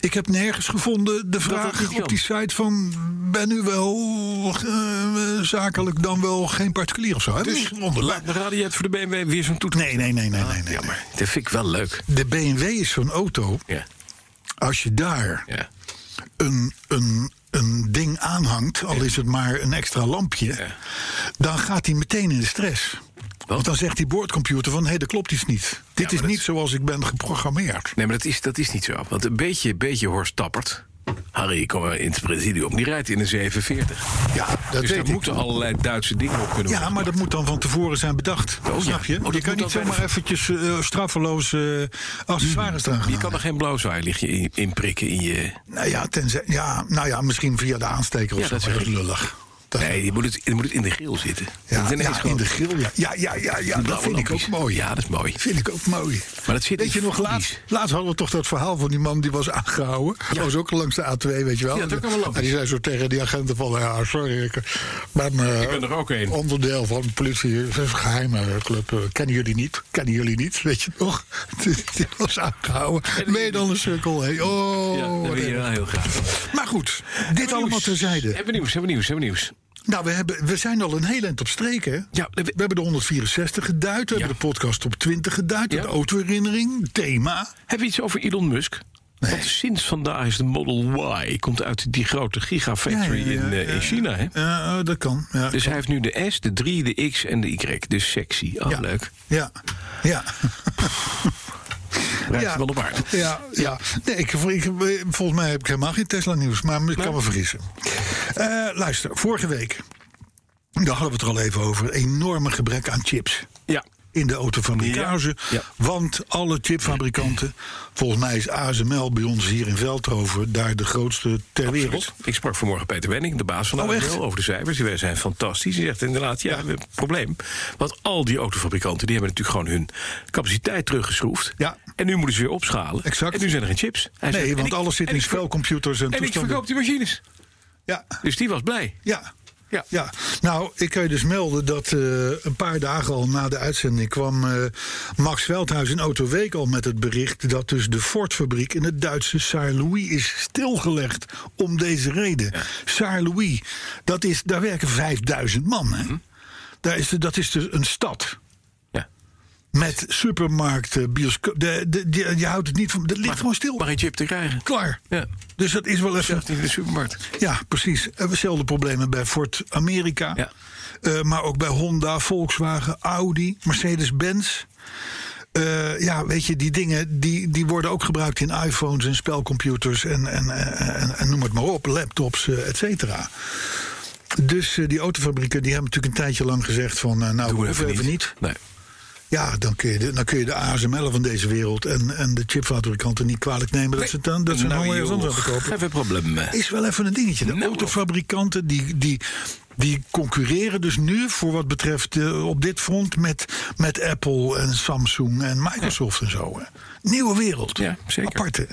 ik heb nergens gevonden de het vraag niet kan. op die site van... ben u wel eh, zakelijk dan wel geen particulier of zo? Heb ik niet gevonden. Laat de radio uit voor de BMW weer zo'n toeter. Nee, nee, nee, nee, nee, nee. Jammer. Dat vind ik wel leuk. De BMW is zo'n auto, Ja, als je daar ja. een, een, een ding aanhangt... al is het maar een extra lampje, Ja. dan gaat hij meteen in de stress. Want dan zegt die boordcomputer van, hé, dat klopt iets niet. Dit maar is dat niet is- zoals ik ben geprogrammeerd. Nee, maar dat is, dat is niet zo. Want een beetje, beetje Horst Tappert. Harry, kom maar in het presidium. Die rijdt in een 740. Ja, dat dus daar weet ik. moeten allerlei Duitse dingen op kunnen Ja, worden maar dat moet dan van tevoren zijn bedacht. ja. Snap je? Oh, dat je kan moet niet dan zomaar bij eventjes eh, straffeloos eh, accessoires eraan gaan Je kan hangen. er geen blauw zwaailichtje in, inprikken in je... Nou ja, tenzij, ja, nou ja, misschien via de aansteker of Ja, zo. dat maar is lullig. Dat- Nee, je moet, het, je moet het in de grill zitten. ja, Dat is ineens ja, gewoon- in de grill, ja. Ja, ja, ja, ja dat vind ik ook lampjes. mooi. Ja, dat is mooi. Vind ik ook mooi. Maar dat zit weet in je nog, vlies. laatst, laatst hadden we toch dat verhaal van die man die was aangehouden. Dat was ook langs de A2, weet je wel. Ja, dat kan wel lopen. en die zei zo tegen die agenten van, ja, sorry, ik ben, eh, Ik ben er ook een. onderdeel van de politie, het is een geheime club, eh, kennen jullie niet, kennen jullie niet, weet je nog. die die was aangehouden, mee dan een cirkel heen. Oh, Ja, wat dat wil je erg. wel heel graag. Hebben Maar goed, dit we allemaal nieuws? terzijde. Hebben we nieuws, hebben we nieuws, hebben we nieuws. Nou, we, hebben, we zijn al een heel eind op streek, hè? Ja, we, we- hebben de 164 geduid, we Ja. hebben de podcast op 20 geduid, Ja. de autoherinnering, thema. Heb je iets over Elon Musk? Want sinds vandaag is de Model Y. Komt uit die grote gigafactory Ja, ja, ja, in, eh, ja, in China, hè? Ja, eh, dat kan. Ja. Dus hij heeft nu de S, de 3, de X en de Y. Dus sexy. Oh, Ja. leuk. Ja, ja. Rijdt wel op aard. Ja, ja. Nee, ik, ik- volgens mij heb ik helemaal geen Tesla-nieuws, maar ik kan me vergissen. Eh, luister, vorige week, daar hadden we het er al even over, enorme gebrek aan chips. Ja. in de autofabrikage. Ja, ja. Want alle chipfabrikanten, volgens mij is ASML bij ons hier in Veldhoven daar de grootste ter wereld. Ik sprak vanmorgen Peter Wenning, de baas van de Oh, echt? ASML, over de cijfers. Die zijn fantastisch. Die zegt inderdaad, ja, we hebben een probleem. Want al die autofabrikanten die hebben natuurlijk gewoon hun capaciteit teruggeschroefd. Ja. En nu moeten ze weer opschalen. Exact. En nu zijn er geen chips. Hij zegt, Nee, en want ik- alles zit en in ik ver- spelcomputers en En ik toestanden. verkoop die machines. Ja, Dus die was blij. ja. Ja. Ja, nou, ik kan je dus melden dat eh, een paar dagen al na de uitzending kwam eh, Max Veldhuis in Autoweek al met het bericht dat dus de Ford-fabriek in het Duitse Saarlouis is stilgelegd om deze reden. Saarlouis, dat is, daar werken 5000 man. Mhm. Hè? Daar is de, dat is dus een stad. Ja. Met supermarkten, bioscoop. De, de, de- je houdt het niet van. Dat ligt gewoon stil. Maar een chip te krijgen. Klaar. Ja. Dus dat is wel even. Zegt hij in de supermarkt. Ja, precies. Eh, Hetzelfde problemen bij Ford Amerika. Ja. Eh, maar ook bij Honda, Volkswagen, Audi, Mercedes-Benz. Eh, ja, weet je, die dingen die, die worden ook gebruikt in iPhones en spelcomputers en, en, en, en- en noem het maar op, laptops, eh, et cetera. Dus eh, die autofabrieken die hebben natuurlijk een tijdje lang gezegd van, eh, nou, Doe we even, hoeven even niet. Nee. ja, dan kun je de, dan kun je de ASML van deze wereld en, en de chipfabrikanten niet kwalijk nemen dat ze, dan, dat ze nou ergens joh, anders aan verkopen. Even problemen. Is wel even een dingetje. De Nou, autofabrikanten die, die, die concurreren dus nu voor wat betreft eh, op dit front met, met Apple en Samsung en Microsoft en zo. Hè. Nieuwe wereld. Ja, zeker. Aparte.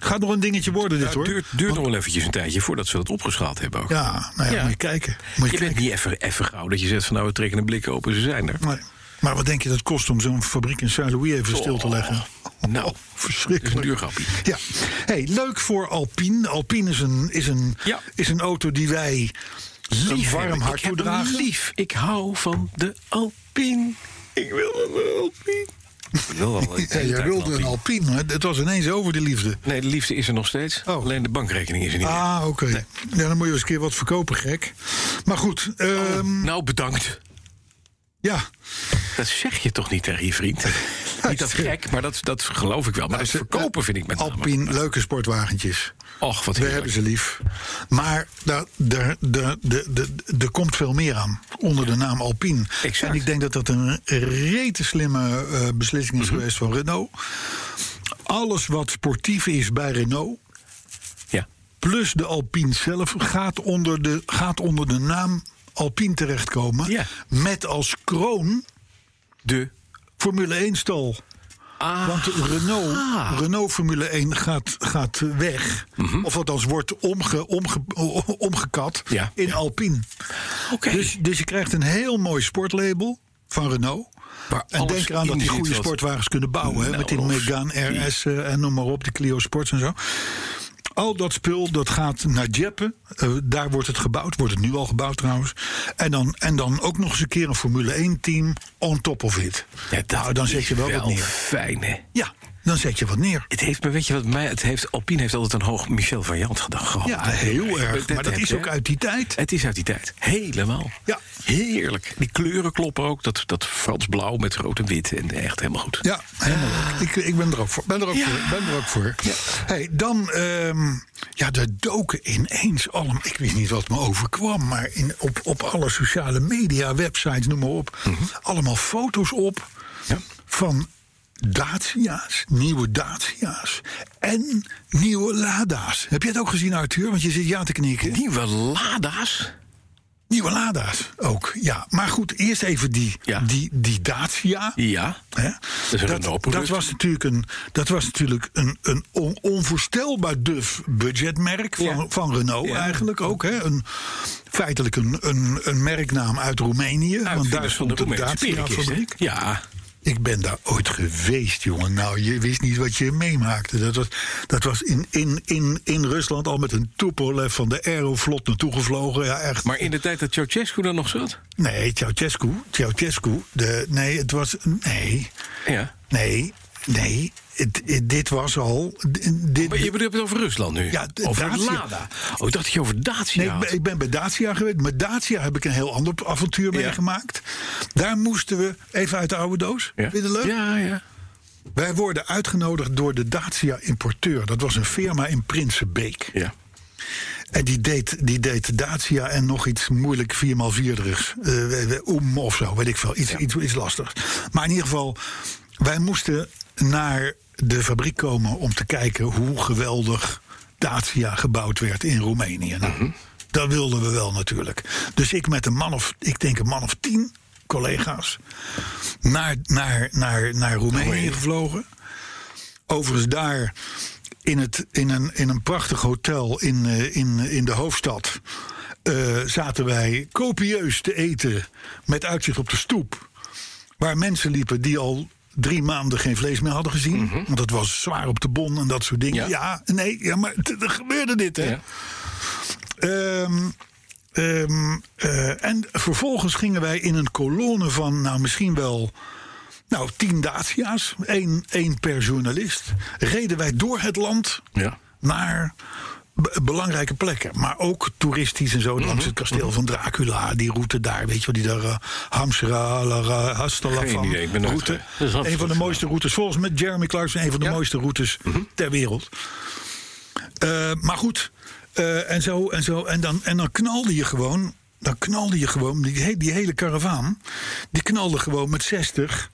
Gaat nog een dingetje worden dit Het hoor. duurt, duurt nog wel eventjes een tijdje voordat ze dat opgeschaald hebben ook. Ja, nou ja, Ja. moet je kijken. Moet je Je bent kijken. niet even, even gauw dat je zegt van nou we trekken een blik open, ze zijn er. Nee. Maar wat denk je dat het kost om zo'n fabriek in Saint-Louis even stil te leggen? Oh, Oh, Nou, verschrikkelijk. dat is een duur grapje. Ja. Hey, leuk voor Alpine. Alpine is een, is een, Ja. is een auto die wij lief heb warm ik. hart Ik heb hem toedragen. Lief, ik hou van de Alpine. Ik wil van de Alpine. Ik wil al Ja, je wilde een Alpine, maar het was ineens over de liefde. Nee, de liefde is er nog steeds. Oh. Alleen de bankrekening is er niet. meer. Ah, oké. Ja, dan moet je eens een keer wat verkopen, gek. Maar goed, ehm, Nou, bedankt. ja. Dat zeg je toch niet tegen je vriend? niet dat gek, maar dat, dat geloof ik wel. Maar dat verkopen vind ik met name. Nou, eh, Alpine, leuke sportwagentjes. Och, wat We heerlijk. hebben ze lief. Maar daar daar- daar- de- de- de- er komt veel meer aan onder de naam Alpine. Exact. En ik denk dat dat een rete slimme eh, beslissing Mhm. is geweest van Renault. Alles wat sportief is bij Renault, Ja. plus de Alpine zelf gaat onder de, gaat onder de naam Alpine terechtkomen. Ja. Met als kroon De. Formule 1-stal. Ah. Want Renault, Renault Formule 1 gaat, gaat weg. Mhm. Of althans wordt omge, omge, o- o- omgekat Ja, in ja. Alpine. Oké. Dus, dus je krijgt een heel mooi sportlabel van Renault. Waar en alles denk eraan dat in die zit goede wat- sportwagens kunnen bouwen. hè, Nou, met die of Megane RS eh, en noem maar op, de Clio Sports en zo. Al dat spul dat gaat naar Jeppen. Eh, daar wordt het gebouwd. Wordt het nu al gebouwd trouwens. En dan, en dan ook nog eens een keer een Formule 1 team on top of it. Ja, dat nou, dan is zet je wel, wat neer. fijn, hè? Ja, dan zet je wat neer. Het heeft, maar weet je wat mij, het heeft, Alpine heeft altijd een hoog Michel Variant gedacht gehad. Ja, heel erg. Maar dat heb is je, ook hè? uit die tijd. Het is uit die tijd. Helemaal. Ja. Heerlijk. Die kleuren kloppen ook. Dat, dat Frans blauw met rood en wit. En echt helemaal goed. Ja, helemaal leuk. Ik, ik ben er ook voor. Ben er ook voor. Ben er ook voor. Hey, dan, ehm, ja, er doken ineens allemaal. Ik wist niet wat me overkwam, maar in, op, op alle sociale media, websites, noem maar op. Allemaal foto's op van Dacia's, nieuwe Dacia's en nieuwe Lada's. Heb jij het ook gezien, Arthur? Want je zit ja te knikken. Nieuwe Lada's. Nieuwe Lada's ook, ja. Maar goed, eerst even die, Ja. die, die Dacia. Ja, Hè? is een Dat, Renault-product. dat was natuurlijk een, dat was natuurlijk een, een on- onvoorstelbaar duf budgetmerk van, Ja. van Renault Ja. eigenlijk ook. Hè? Een, feitelijk een, een, een merknaam uit Roemenië. want daar uitvinders van de stond een Roemeense perikist, hè? Dacia-fabriek. Ja, Ik ben daar ooit geweest, jongen. Nou, je wist niet wat je meemaakte. Dat was, dat was in, in, in, in Rusland al met een Tupolev van de Aeroflot naartoe gevlogen. Ja, echt. maar in de tijd dat Ceausescu er nog zat? Nee, Ceausescu. Ceausescu. De, nee, het was. Nee. Ja. Nee. Nee. Het, het- dit was al. d- Dit, Maar je bedoelt het over Rusland nu? Ja, de over Dacia. Lada. Oh, ik dacht dat je over Dacia Nee, ik ben- had. ik ben bij Dacia geweest. Met Dacia heb ik een heel ander avontuur Ja. meegemaakt. Daar moesten we even uit de oude doos. Ja? Vind je dat leuk? Ja, ja. Wij worden uitgenodigd door de Dacia-importeur. Dat was een firma in Prinsenbeek. ja. En die deed, die deed Dacia en nog iets moeilijk Eh, 4x4-erigs. Om of zo, weet ik veel. Iets, iets, iets lastigs. Maar in ieder geval, wij moesten naar de fabriek komen om te kijken hoe geweldig Dacia gebouwd werd in Roemenië. Nou, Dat wilden we wel natuurlijk. Dus ik met een man of, ik denk een man of tien collega's, naar, naar, naar, naar Roemenië gevlogen. Overigens daar in, het, in, een, in een prachtig hotel in, eh, in, in de hoofdstad... eh, zaten wij copieus te eten met uitzicht op de stoep. Waar mensen liepen die al drie maanden geen vlees meer hadden gezien. Want dat was zwaar op de bon en dat soort dingen. Ja, Mhm. Ja. nee, ja, maar t- er gebeurde dit, hè. Ja. Ehm, ehm, eh, en vervolgens gingen wij in een kolonne van, nou misschien wel. Nou, tien Dacia's, één, één per journalist. Reden wij door het land Ja. naar be- belangrijke plekken. Maar ook toeristisch en zo. Langs het kasteel van Dracula, die route daar. Weet je wel, die daar eh, Hamsra, la, ra, Hastala Geen van. idee, ik ben nooit route. geweest. Dus Dat is Een van de absoluut mooiste routes. Volgens met Jeremy Clarkson, een van de mooiste routes Mhm. ter wereld. Eh, maar goed, eh, en zo en zo. En dan, en dan knalde je gewoon. Dan knalde je gewoon. Die, he- die hele karavaan. Die knalde gewoon met 60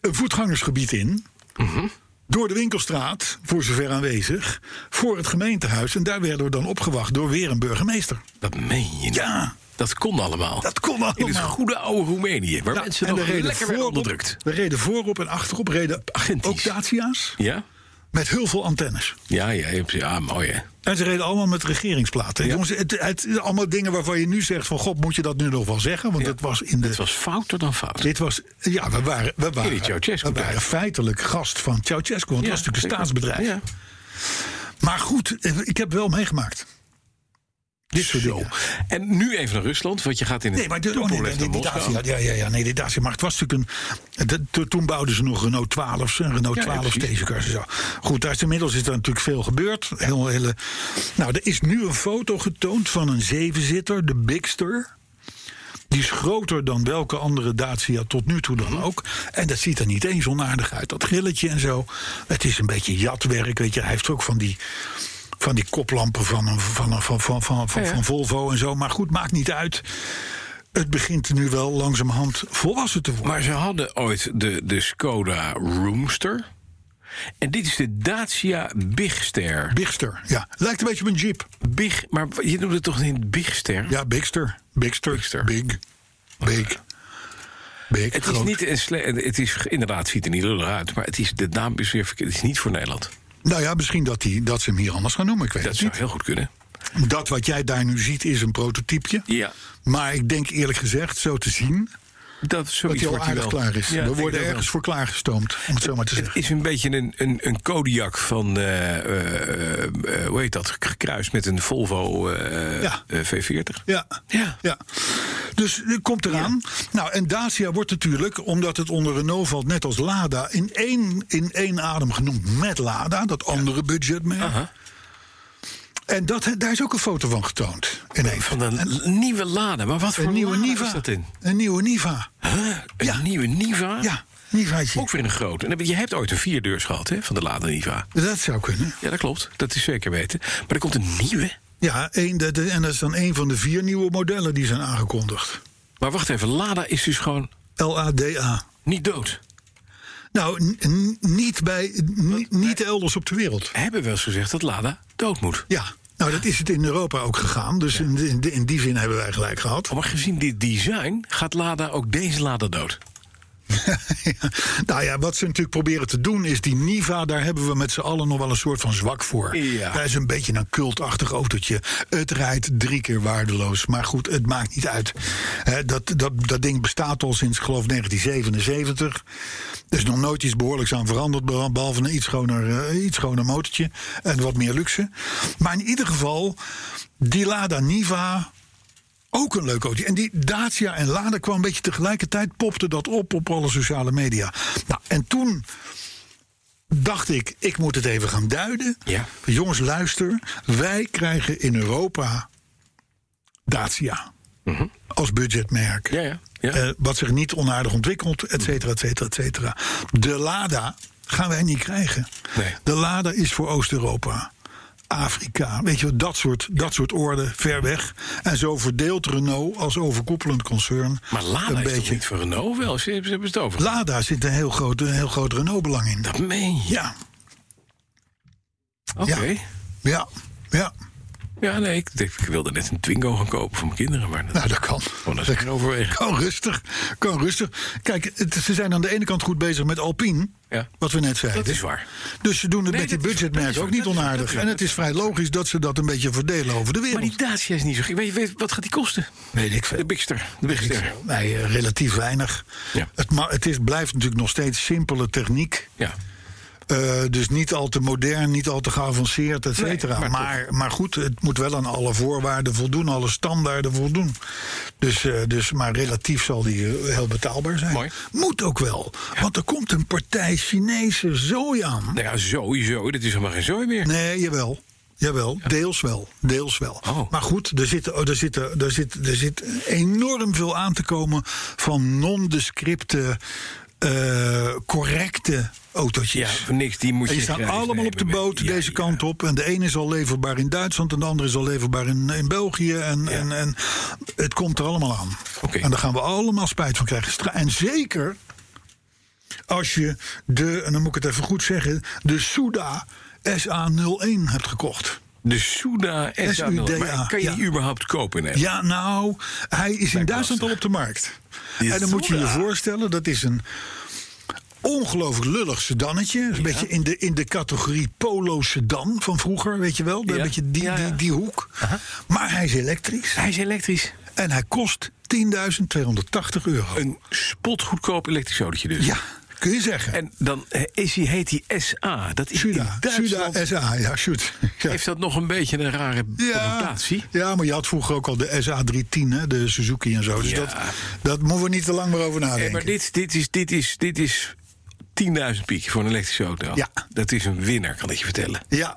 een voetgangersgebied in. Mhm. Door de winkelstraat, voor zover aanwezig. Voor het gemeentehuis. En daar werden we dan opgewacht door weer een burgemeester. Dat meen je niet. Ja, Dat kon allemaal. dat kon allemaal. In het goede oude Roemenië, waar Ja, mensen en nog er reden lekker werden voorop- onderdrukt. Er reden voorop en achterop reden Agentjes. ook Dacia's. Ja? Met heel veel antennes. Ja, ja, ja, ja, mooi hè. En ze reden allemaal met regeringsplaten. Ja. Jongens, het, het, allemaal dingen waarvan je nu zegt: van god, moet je dat nu nog wel zeggen? Want dat was in de. Het was fouter dan fout. Dit was. Ja, we waren, we waren, die Ceausescu we waren tijd. feitelijk gast van Ceausescu. Want Ja, het was natuurlijk een zeker. staatsbedrijf. Ja. Maar goed, eh, ik heb wel meegemaakt. Dit soort Zo. dingen. En nu even naar Rusland, want je gaat in het Nee, maar de, oh, nee, Tupolev nee, die naar Moskou. Dacia, ja, ja, ja, nee, die Dacia. Maar het was natuurlijk een. de- to- toen bouwden ze nog Renault 12's en Renault Ja, ja, 12 precies. stationcars en zo. Goed, daar is inmiddels is er natuurlijk veel gebeurd. Heel, hele, nou, er is nu een foto getoond van een zevenzitter, de Bigster. Die is groter dan welke andere Dacia tot nu toe Mhm. dan ook. En dat ziet er niet eens onaardig uit. Dat grilletje en zo. Het is een beetje jatwerk. Weet je. Hij heeft ook van die, van die koplampen van, een, van, een, van, van, van, van, van Volvo en zo. Maar goed, maakt niet uit. Het begint nu wel langzamerhand volwassen te worden. Maar ze hadden ooit de, de Skoda Roomster. En dit is de Dacia Bigster. Bigster, ja. Lijkt een beetje op een jeep. Big, maar je noemde het toch niet Bigster? Ja, Bigster. Bigster. Bigster. Oh, Big. Big. Big. Het is, groot. niet een sle- eh, het is inderdaad, ziet er niet lullig uit, maar het is, de naam is weer verkeerd. Het is niet voor Nederland. Nou ja, misschien dat, die, dat ze hem hier anders gaan noemen. Ik weet Dat het zou niet. heel goed kunnen. Dat wat jij daar nu ziet is een prototypje. Ja. Maar ik denk eerlijk gezegd, zo te zien, Dat, dat zoiets hij al wordt aardig wel. klaar is. Ja, We ik worden denk ergens wel. voor klaargestoomd, om het zo maar te Het zeggen. is een beetje een, een, een Kodiak van, eh, eh, eh, hoe heet dat, gekruist met een Volvo eh, Ja. eh, V40. Ja. Ja. ja. Dus eh, komt eraan. Nou, en Dacia wordt natuurlijk, omdat het onder Renault valt, net als Lada, in één, in één adem genoemd met Lada, dat andere budgetmerk. Aha. En dat, daar is ook een foto van getoond. In een Van een l- nieuwe Lada. Maar wat voor een nieuwe Lada Niva. is dat in? Een nieuwe Niva. Huh? Een Ja. nieuwe Niva? Ja, Nivaatje. Ook weer een grote. En Je hebt ooit een vierdeurs gehad hè, van de Lada Niva. Dat zou kunnen. Ja, dat klopt. Dat is zeker weten. Maar er komt een nieuwe. Ja, één, dat- en dat is dan een van de vier nieuwe modellen die zijn aangekondigd. Maar wacht even, Lada is dus gewoon LADA. niet dood. Nou, n- n- niet, bij, n- niet elders op de wereld. Hebben we wel eens gezegd dat Lada dood moet. Ja, Nou, dat is het in Europa ook gegaan. Dus in, in, in die zin hebben wij gelijk gehad. Maar gezien dit design gaat Lada ook deze Lada dood. Ja, nou ja, wat ze natuurlijk proberen te doen is die Niva, daar hebben we met z'n allen nog wel een soort van zwak voor. Ja. Dat is een beetje een cultachtig autootje. Het rijdt drie keer waardeloos, maar goed, het maakt niet uit. Hè, dat, dat, dat ding bestaat al sinds, geloof 1977. Er is nog nooit iets behoorlijks aan veranderd, beh- behalve een iets schoner, eh, iets schoner motortje en wat meer luxe. Maar in ieder geval, die Lada Niva, ook een leuk autootje. En die Dacia en Lada kwam een beetje tegelijkertijd, popte dat op op alle sociale media. Nou, en toen dacht ik, ik moet het even gaan duiden. Ja. Jongens, luister, wij krijgen in Europa Dacia als budgetmerk. Mhm. Ja, ja, ja. Eh, wat zich niet onaardig ontwikkelt, et cetera, et cetera, et cetera. De Lada gaan wij niet krijgen. Nee. De Lada is voor Oost-Europa. Afrika, weet je wel, dat soort, dat soort orde, ver weg. En zo verdeelt Renault als overkoepelend concern Maar Lada een is toch beetje. niet voor Renault wel? Ze, ze hebben het over. Lada zit een heel groot, een heel groot Renault-belang in. Dat meen je. Ja, Oké. ja. ja, ja. Ja, nee, ik, ik wilde net een Twingo gaan kopen voor mijn kinderen. Maar dat, Nou, dat kan. oh, dat is geen overweging. Kan rustig, kan rustig. Kijk, het- ze zijn aan de ene kant goed bezig met Alpine, Ja. wat we net zeiden. Dat is waar. Dus ze doen het Nee, met die dat is- dat budgetmerk is waar, ook niet dat is waar, dat onaardig. is waar, En dat het is vrij logisch dat ze dat een beetje verdelen over de Maar wereld. die Dacia is niet zo gek. Weet je, weet, wat gaat die kosten? Weet ik De veel. Bigster. De Weet ik Bigster. veel. Nee, eh, relatief weinig. Ja. Het, ma- het is, blijft natuurlijk nog steeds simpele techniek. Ja. Eh, dus niet al te modern, niet al te geavanceerd, et cetera. Nee, maar maar, maar, goed, het moet wel aan alle voorwaarden voldoen, alle standaarden voldoen. Dus, eh, dus, maar relatief zal die eh, heel betaalbaar zijn. Mooi. Moet ook wel, want er komt een partij Chinese zooi aan. Nou ja, sowieso. Dit is helemaal geen zooi meer. Nee, jawel. Jawel, deels wel. Deels wel. Oh. Maar goed, er zit, er, zit, er, zit, er zit enorm veel aan te komen van non-descripte, eh, correcte Ja, autootjes. voor niks. Die moet je En die staan grijs allemaal nemen op de met- boot ja, deze ja. kant op. En de ene is al leverbaar in Duitsland en de andere is al leverbaar in, in België. En, en, en het komt er allemaal aan. Oké. En daar gaan we allemaal spijt van krijgen. Stra- En zeker als je de, en dan moet ik het even goed zeggen, de Suda SA01 hebt gekocht. De Suda SUDA, SUDA. Kan je die ja. überhaupt kopen? Nee. Ja, nou, hij is in Duitsland al op de markt. Die en dan moet je je Suda. voorstellen, dat is een ongelooflijk lullig sedannetje. Een beetje in de, in de categorie polo sedan van vroeger, weet je wel. Een Ja. beetje die, Ja, ja. die, die hoek. Maar hij is elektrisch Hij is elektrisch. en hij kost 10.280 euro. Een spotgoedkoop elektrisch autootje dus. Ja, kun je zeggen. En dan eh, is hij, heet hij SA. Dat is in Suda, Duitsland. Suda SA, ja, shoot. Ja. Heeft dat nog een beetje een rare connotatie? ja, maar je had vroeger ook al de SA310, hè, de Suzuki en zo. Dus Ja. dat, dat moeten we niet te lang meer over nadenken. Nee, Eh, maar dit, dit is, dit is, dit is 10.000 piek voor een elektrische auto. Ja. Dat is een winnaar, kan ik je vertellen. Ja,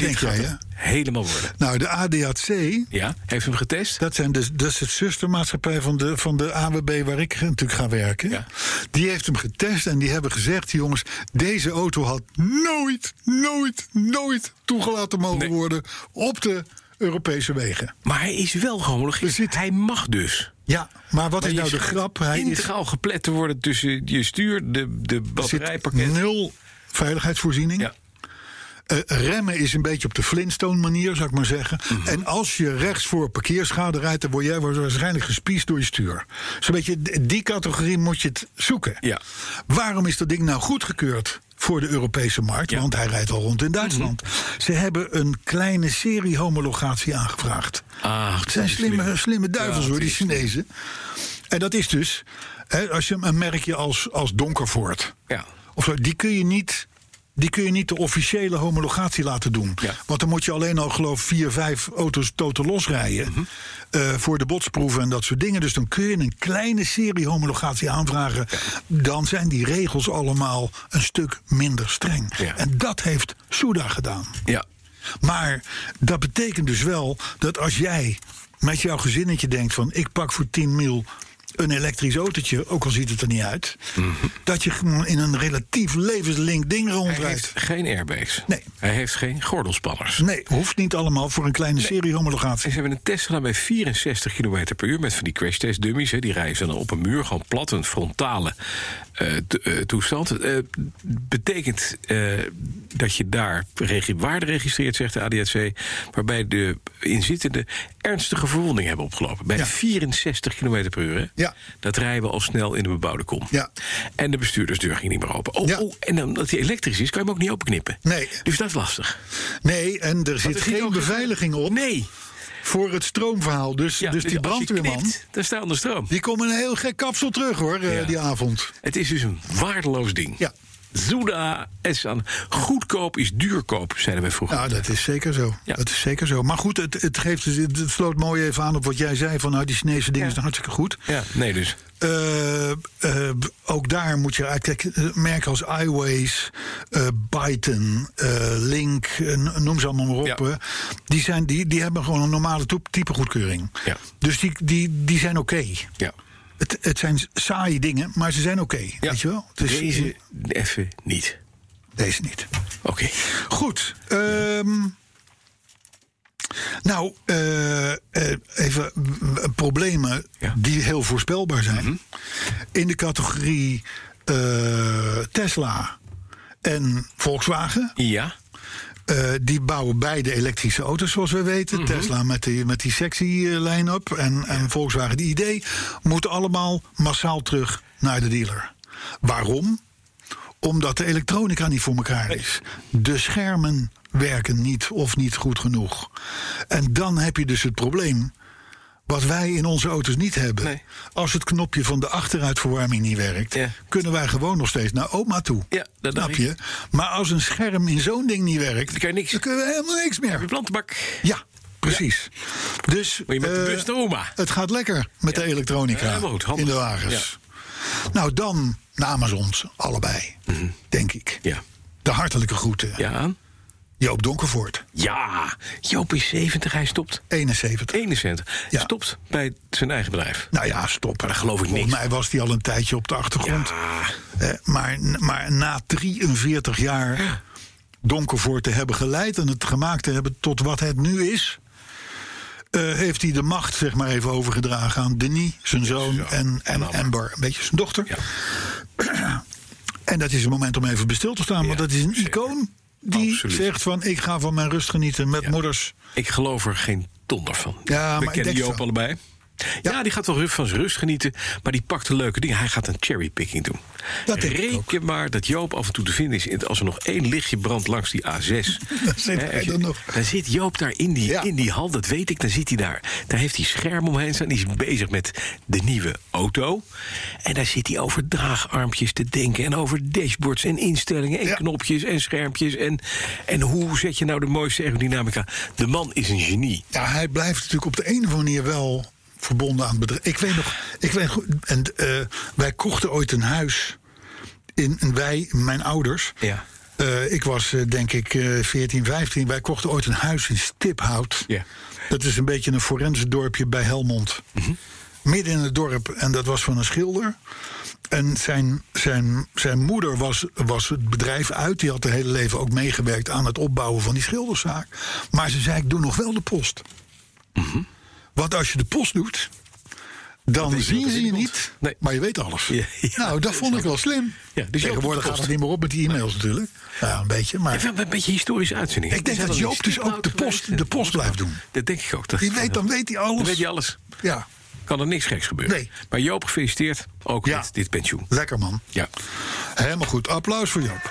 dit denk jij, gaat hè? hem helemaal worden. Nou, de ADAC, Ja, heeft hem getest? dat, zijn dus, dat is het zustermaatschappij van de, van de AWB waar ik natuurlijk ga werken. Ja. Die heeft hem getest en die hebben gezegd: jongens, deze auto had nooit, nooit, nooit toegelaten mogen Nee. worden op de Europese wegen. Maar hij is wel Er gehomolegeerd. zit- Hij mag dus. Ja, maar wat Maar is je nou de schijnt grap? Hij is integraal geplet te worden tussen je stuur, de, de er zit batterijpakket. nul veiligheidsvoorziening. Ja. Eh, remmen is een beetje op de Flintstone manier, zou ik maar zeggen. Mhm. En als je rechts voor parkeerschade rijdt, dan word jij waarschijnlijk gespiesd door je stuur. Zo'n beetje d- die categorie moet je het zoeken. Ja. Waarom is dat ding nou goedgekeurd voor de Europese markt? Ja. Mhm. Want hij rijdt al rond in Duitsland. Ze hebben een kleine serie homologatie aangevraagd. Ah, het zijn slimme, slimme duivels Ja, hoor, het die is- Chinezen. En dat is dus, hè, als je hem een merkje als, als Donkervoort. Ja. Of zo, die kun je niet. Die kun je niet de officiële homologatie laten doen. Ja. Want dan moet je alleen al, geloof ik, vier, vijf auto's totaal losrijden. Mhm. eh, voor de botsproeven en dat soort dingen. Dus dan kun je een kleine serie homologatie aanvragen. Dan zijn die regels allemaal een stuk minder streng. Ja. En dat heeft Suda gedaan. Ja. Maar dat betekent dus wel dat als jij met jouw gezinnetje denkt van ik pak voor 10 mil een elektrisch autootje, ook al ziet het er niet uit, dat je gewoon in een relatief levenslink ding Hij rondrijdt. heeft geen airbags. Nee. Hij heeft geen gordelspanners. Nee, hoeft niet allemaal voor een kleine serie homologatie. En ze hebben een test gedaan bij 64 km per uur met van die crash test dummies. Hè. Die rijden ze dan op een muur, gewoon plat, een frontale eh, t- eh, toestand. Eh, betekent eh, dat je daar regi- waarde registreert, zegt de ADAC, waarbij de inzittenden ernstige verwondingen hebben opgelopen. Bij Ja. 64 km per uur, hè. Ja. dat rijden we al snel in de bebouwde kom. Ja. En de bestuurdersdeur ging niet meer open. Oh, Ja. oh, en dan, omdat hij elektrisch is, kan je hem ook niet openknippen. Nee. Dus dat is lastig. Nee, en er er zit zit geen ook- beveiliging op Nee. voor het stroomverhaal. Dus, Ja, dus die als je brandweerman, knipt, dan staat onder stroom. die komt met een heel gek kapsel terug hoor, eh, Ja. die avond. Het is dus een waardeloos ding. Ja. Zuda is aan. Goedkoop is duurkoop, zeiden wij vroeger. Ja, Nou, dat is zeker zo. Ja. Dat is zeker zo. Maar goed, het, het, geeft, dus, het het sloot mooi even aan op wat jij zei. Van nou, die Chinese dingen zijn hartstikke goed. Ja, nee dus. Eh, eh, ook daar moet je uitkijken. Merken als iWays, eh Byton, eh, Link, eh, n- noem ze allemaal maar op. Ja. hè. Die, zijn, die, die hebben gewoon een normale toep- type goedkeuring. Ja. Dus die, die, die zijn oké. Ja. Het, het zijn saaie dingen, maar ze zijn oké. ja. Weet je wel? Het is- Deze even niet. deze niet. Oké. Goed. ehm, nou, eh, eh, even mm, problemen Ja. die heel voorspelbaar zijn. In de categorie eh, Tesla en Volkswagen. Ja. Eh, die bouwen beide elektrische auto's, zoals we weten. Mhm. Tesla met die, met die sexy eh, line-up en, en Volkswagen die idee. Moeten allemaal massaal terug naar de dealer. Waarom? Omdat de elektronica niet voor elkaar is. De schermen werken niet of niet goed genoeg. En dan heb je dus het probleem. Wat wij in onze auto's niet hebben. Nee. Als het knopje van de achteruitverwarming niet werkt, Ja. kunnen wij gewoon nog steeds naar oma toe. Ja, dat Snap dacht je? Maar als een scherm in zo'n ding niet werkt, Dan kan je niks. dan kunnen we helemaal niks De meer. plantenbak. Ja, precies. Dus Moet je met de eh, bus naar oma. het gaat lekker met de elektronica Ja, helemaal goed, handig. in de wagens. Nou, dan namens ons allebei, denk ik. Mhm. Ja. De hartelijke groeten. Ja. aan. Joop Donkervoort, Ja. Joop is 70, hij stopt. 71. 71. Ja. Stopt bij zijn eigen bedrijf. Nou ja, stop. Daar geloof ik Volgens niks. mij was die al een tijdje op de achtergrond. Ja. Eh, maar, maar na 43 jaar Donkervoort te hebben geleid en het gemaakt te hebben tot wat het nu is. eh, heeft hij de macht, zeg maar, even overgedragen aan Denis, zijn zoon, en, en Amber, een beetje zijn dochter. Ja. En dat is het moment om even bij stil te staan, want Ja, dat is een zeker. icoon die Absoluut. zegt van... ik ga van mijn rust genieten met Ja. moeders. Ik geloof er geen donder van. Ja, We maar ik kennen denk Joop het wel. allebei. Ja. die gaat wel rust van zijn rust genieten. Maar die pakt de leuke dingen. Hij gaat een cherrypicking doen. Dat denk ik Reken maar dat Joop af en toe te vinden is. in- Als er nog één lichtje brandt langs die A6. zit Hè, hij als je- dan nog. dan zit Joop daar in die, Ja. in die hal. Dat weet ik. Dan zit hij daar. Daar heeft hij scherm omheen staan. Die is bezig met de nieuwe auto. En daar zit hij over draagarmpjes te denken. En over dashboards en instellingen. En Ja. knopjes en schermpjes. En, en hoe zet je nou de mooiste aerodynamica? De man is een genie. Ja, hij blijft natuurlijk op de een of andere manier wel verbonden aan het bedrijf. Ik weet nog, ik weet goed, en, eh, wij kochten ooit een huis. In, en wij, mijn ouders. Ja. Eh, ik was eh, denk ik eh 14, 15. Wij kochten ooit een huis in Stiphout. Ja. Dat is een beetje een forense dorpje bij Helmond. Mhm. Midden in het dorp. En dat was van een schilder. En zijn, zijn, zijn moeder was, was het bedrijf uit. Die had het hele leven ook meegewerkt aan het opbouwen van die schilderszaak. Maar ze zei, ik doe nog wel de post. Mhm. Want als je de post doet, dan zien wat er ze je binnenkomt. niet, Nee. maar je weet alles. Ja, ja, nou, dat vond ik wel slim. Ja, dus Joop doet de Tegenwoordig gaat post. het niet meer op met die e-mails natuurlijk. Ja, een beetje, maar... Even een beetje historische uitzending. Ik Is denk hij dat dan Joop in dus ook de Stiphout post- geweest? de post blijft doen. Dat denk ik ook. Dat Die weet, dan weet hij alles. Dan weet hij alles. Ja, Kan er niks geks gebeuren. Nee. Maar Joop, gefeliciteerd ook Ja. met dit pensioen. lekker man. Ja. Helemaal goed. Applaus voor Joop.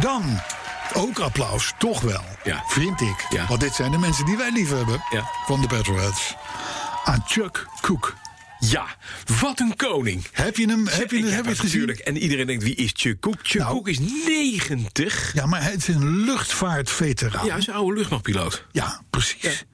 Dan, ook applaus, toch wel, Ja. vind ik. Ja. Want dit zijn de mensen die wij lief hebben Ja. van de Petrolheads. Aan Chuck Cook. ja, wat een koning. Heb je hem, heb je, Ik hem- heb je het gezien? natuurlijk- En iedereen denkt, wie is Chuck Cook? Chuck Nou. Cook is 90. Ja, maar het is een luchtvaartveteraan. Ja, hij is een oude luchtmachtpiloot. Ja, precies.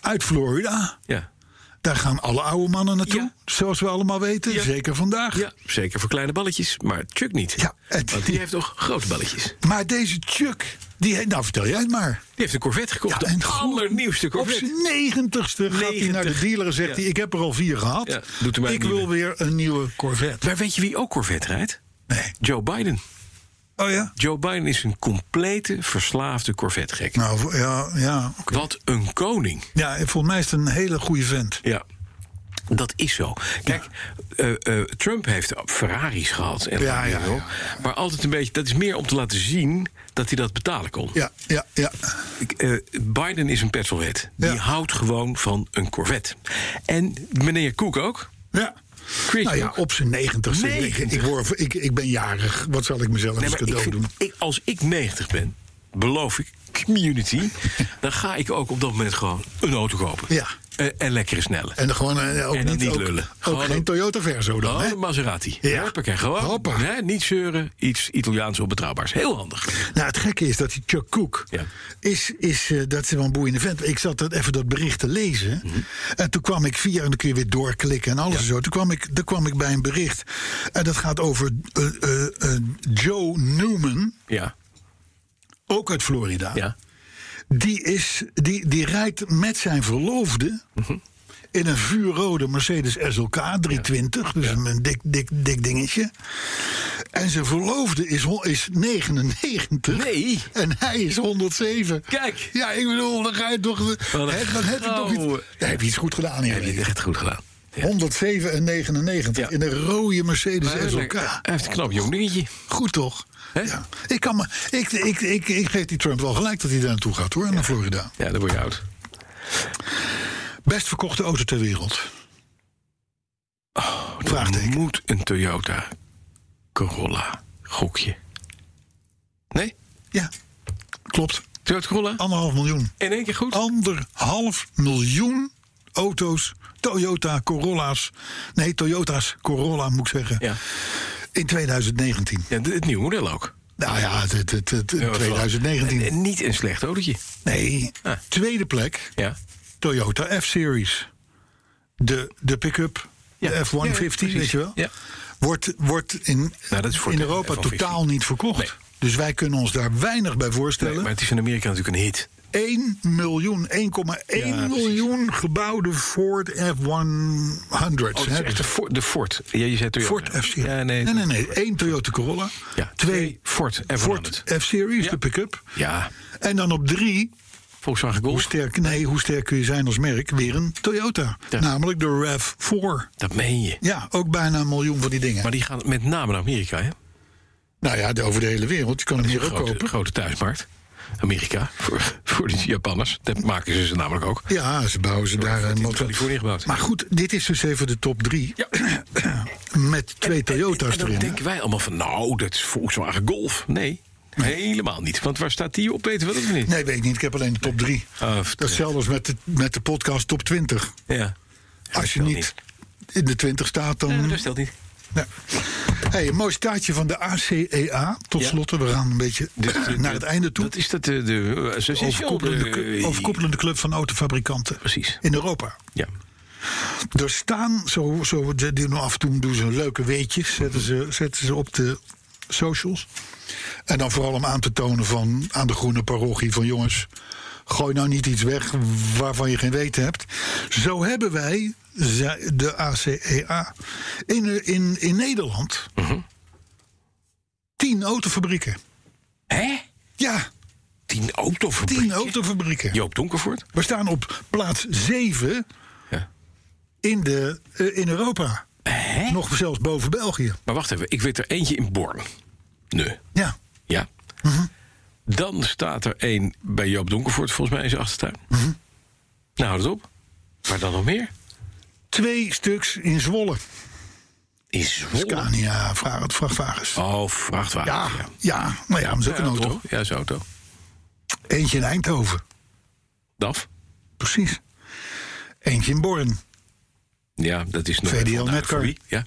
Uit Florida. Ja. Daar gaan alle oude mannen naartoe. Ja. Zoals we allemaal weten. Ja. Zeker vandaag. ja, zeker voor kleine balletjes, maar Chuck niet. Ja, het- Want die heeft toch grote balletjes. Maar deze Chuck Die, nou, vertel jij het maar. Die heeft een Corvette gekocht. Ja, en de goed, allernieuwste Op Corvette. zijn negentigste gaat hij naar de 90. dealer en zegt Ja. hij... ik heb er al vier gehad, Ja, doet u mij ik een wil nieuwe. weer een nieuwe Corvette. Maar weet je wie ook Corvette rijdt? Nee. Joe Biden. Oh ja? Joe Biden is een complete verslaafde Corvette-gek. Nou, ja, ja. Wat een koning. Ja, volgens mij is het een hele goede vent. Ja. Dat is zo. Kijk, eh, eh, Trump heeft Ferraris gehad. En Ja, ja, ja. Maar altijd een beetje, dat is meer om te laten zien dat hij dat betalen kon. Ja, ja, ja. Ik, eh, Biden is een petrolhead. Die Ja. houdt gewoon van een Corvette. En meneer Cook ook. ja. Chris Nou ja, ook. op zijn negentigste. Ik, ik, 90. word- ik, ik ben jarig. Wat zal ik mezelf Nee, als maar ik cadeau vind- doen? ik- als ik 90 ben, beloof ik, community... dan ga ik ook op dat moment gewoon een auto kopen. Ja. Eh, en lekkere snelle. En dan gewoon eh, ook En dan niet, niet ook- lullen. Ook, Gewoon geen een- Toyota Verso dan, Oh, hè? een Maserati. Ja. Hoppakee, gewoon. Hoppa. Hè, niet zeuren, iets Italiaans onbetrouwbaars. Heel handig. Nou, het gekke is dat die Chuck Cook Ja. is, is eh, dat is wel een boeiende vent. Ik zat dat even dat bericht te lezen Mhm. en toen kwam ik via en dan kun je weer doorklikken en alles en zo. Toen kwam ik, daar kwam ik bij een bericht en dat gaat over eh, eh, eh, Joe Newman, Ja, ook uit Florida. ja. Die is die, die rijdt met zijn verloofde. Mhm. In een vuurrode Mercedes SLK 320, dus een dik, dik, dik dingetje. En zijn verloofde is, hon- is 99. Nee. En hij is 107. Kijk. Ja, ik bedoel, dan ga je toch. een hè, dan heb je toch iets, gouden. dan heb je iets goed gedaan Heb je hier. het echt goed gedaan. Ja. 107 en 99 Ja. in een rode Mercedes Maar SLK. Hij heeft een knap jong dingetje. Goed toch? Hè? Ja. Ik, kan me, ik, ik, ik, ik geef die Trump wel gelijk dat hij daar naartoe gaat hoor, naar Florida. Ja, dan word je oud. Best verkochte auto ter wereld. Oh, Vraagteken. Moet een Toyota Corolla gokje. Nee? Ja, klopt. Toyota Corolla? Anderhalf miljoen. In één keer goed? Anderhalf miljoen auto's. Toyota Corolla's. Nee, Toyota's Corolla moet ik zeggen. Ja. In 2019. ja. d- Het nieuwe model ook. Nou ja, het, het, het, het- Ja, wat 2019. En niet een slecht autootje. Nee, Ah. tweede plek. Ja. Toyota F-Series. De, de pick-up. Ja. De F-150, Ja, ja, precies. weet je wel? Ja. Wordt, wordt in, Nou, dat is voor in de Europa F-150. totaal niet verkocht. Nee. Dus wij kunnen ons daar weinig bij Nee, voorstellen. maar het is in Amerika natuurlijk een hit. 1 miljoen, 1,1 Ja, precies. miljoen gebouwde Ford F-100's. Oh, het is echt de Ford. De Ford. Ja, je zei Toyota. Ford F-Series. Ja, nee, nee. nee, nee, Eén Toyota Corolla. Ja, twee twee Ford F100. Ford F-Series, Ja. de pick-up. Ja, En dan op drie, Volkswagen hoe Golf. sterk, nee, hoe sterk kun je zijn als merk, weer een Toyota. Ja. Namelijk de RAV4. Dat meen je. Ja, ook bijna een miljoen van die dingen. Maar die gaan met name naar Amerika, hè? nou ja, de- over de hele wereld. Je kan hem hier ook Grote, kopen. grote thuismarkt. Amerika, voor, voor die Japanners. Dat maken ze ze namelijk ook. Ja, ze bouwen ze daar een in motor. Californië gebouwd. Maar goed, dit is dus even de top drie. Ja. Met twee Toyota's En dan erin. hè? denken wij allemaal van, nou, dat is Volkswagen Golf. Nee, helemaal niet. Want waar staat die op, weten we dat niet. Nee, weet ik niet. Ik heb alleen de top 3. Ah, dat is hetzelfde als met de, met de podcast top 20. Ja. Als je dat niet in de 20 staat, dan... Nee, dat stelt niet. Ja. Hey, een mooi staartje van de ACEA. Tot Ja. slot, we gaan een beetje naar het einde toe. Dus, eh, Dat is dat de... de association, Overkoepelende, eh, club, overkoepelende club van autofabrikanten. Precies. In Europa. Ja. Er staan, zo, zo ze doen af en toe doen ze leuke weetjes, zetten ze, zetten ze op de socials. En dan vooral om aan te tonen van, aan de groene parochie van jongens, gooi nou niet iets weg waarvan je geen weten hebt. Zo hebben wij, ze- de ACEA, in, in, in Nederland tien autofabrieken. Hè? Ja, Tien autofabrieken? tien autofabrieken. Joop Donkervoort? We staan op plaats zeven Ja. in, de, eh, in Europa. Hè? Nog zelfs boven België. Maar wacht even, ik weet er eentje in Born. Nee. Ja. Ja. Mhm. Dan staat er één bij Joop Donkervoort, volgens mij in zijn achtertuin. Mhm. Nou, houd het op. Maar dan nog meer? Twee stuks in Zwolle. Is Zwolle. Scania, vra- het vrachtwagens. Oh, vrachtwagen. Ja, ja, nou ja, maar dat is ook een auto. toch? Ja, is een auto. Eentje in Eindhoven, DAF? precies. Eentje in Born, Ja, dat is nog... VDL even- nou, Netcar. voor wie? Ja.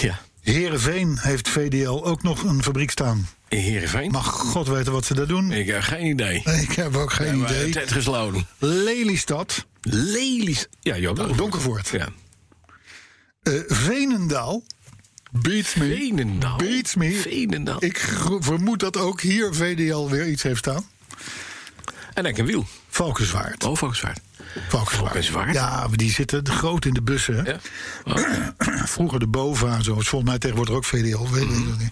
ja. Heerenveen heeft VDL ook nog een fabriek staan. In Heerenveen? Mag god weten wat ze daar doen. Ik heb geen idee. Nee, Ik heb ook geen Maar idee. Het heeft gesloten. Lelystad, Nou, Lelies. Ja, Joop Donkervoort. Donkervoort. Ja. eh, Veenendaal, Beats me. Veenendaal. Beats me. Veenendaal. Ik gro- vermoed dat ook hier VDL weer iets heeft staan. En ik een wiel. Valkenswaard. Oh, Volkswaard. Valkenswaard. Valkenswaard? Ja, maar die zitten groot in de bussen. hè. Ja. Oh, Vroeger de BOVA en zo. Het is volgens mij tegenwoordig ook VDL. Weet ik nog niet.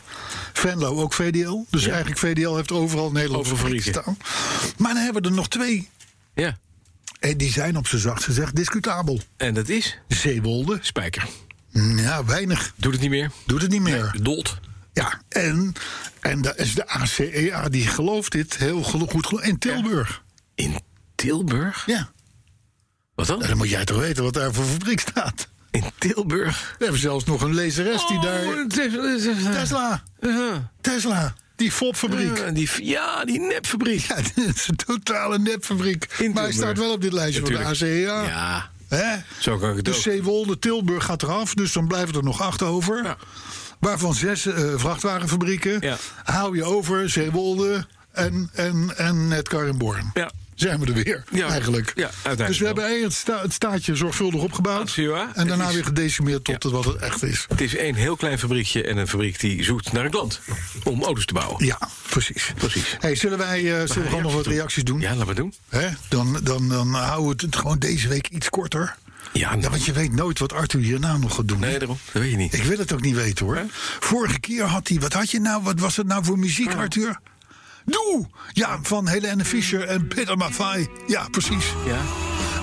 Venlo ook VDL. Dus Mhm. Ja. eigenlijk VDL heeft overal Nederlandse Overal fabrieken fabrieken. staan. Maar dan hebben we er nog twee. ja. En die zijn op z'n zacht gezegd discutabel. En dat is Zeewolde. Spijker. Ja, weinig. Doet het niet meer. Doet het niet meer. Dolt. Ja, en, en de, is de ACEA die gelooft dit heel gelo- goed. gelo- In Tilburg. In Tilburg? Ja. Wat Nou, dan? dan moet jij toch weten wat daar voor fabriek staat. In Tilburg. We hebben zelfs nog een lezeres Oh, die daar... Tesla. Uh-huh. Tesla. Die fopfabriek. Ja, die, ja, die nepfabriek. Ja, dit is een totale nepfabriek. In Maar hij staat Tilburg. wel op dit lijstje van de Natuurlijk. ACEA. Ja, Hè? zo kan ik het De ook. Zeewolde, Tilburg gaat eraf, dus dan blijven er nog acht over. Ja. Waarvan zes eh, vrachtwagenfabrieken. Ja. Haal je over Zeewolde en, en, en Netcar in Born. Ja. Zijn we er weer, Ja, eigenlijk. ja, uiteindelijk dus we wel. hebben eigenlijk het, sta- het staatje zorgvuldig opgebouwd. Ah, zie je waar? en daarna Het is- weer gedecimeerd tot het wat het echt is. Het is één heel klein fabriekje en een fabriek die zoekt naar een klant om auto's te bouwen. Ja, precies. Precies. Hey, zullen wij eh, zullen we gewoon nog wat reacties doen? Ja, laten we doen. Hè? Dan, dan, dan houden we het gewoon deze week iets korter. Ja, Ja, want je weet nooit wat Arthur hierna nog gaat doen. Ah, Nee, daarom. Dat weet je niet. Ik wil het ook niet weten hoor. Vorige keer had hij, wat had je nou, wat was het nou voor muziek, Ah. Arthur? Doe! Ja, van Helene Fischer en Peter Maffay. Ja, precies. Ja.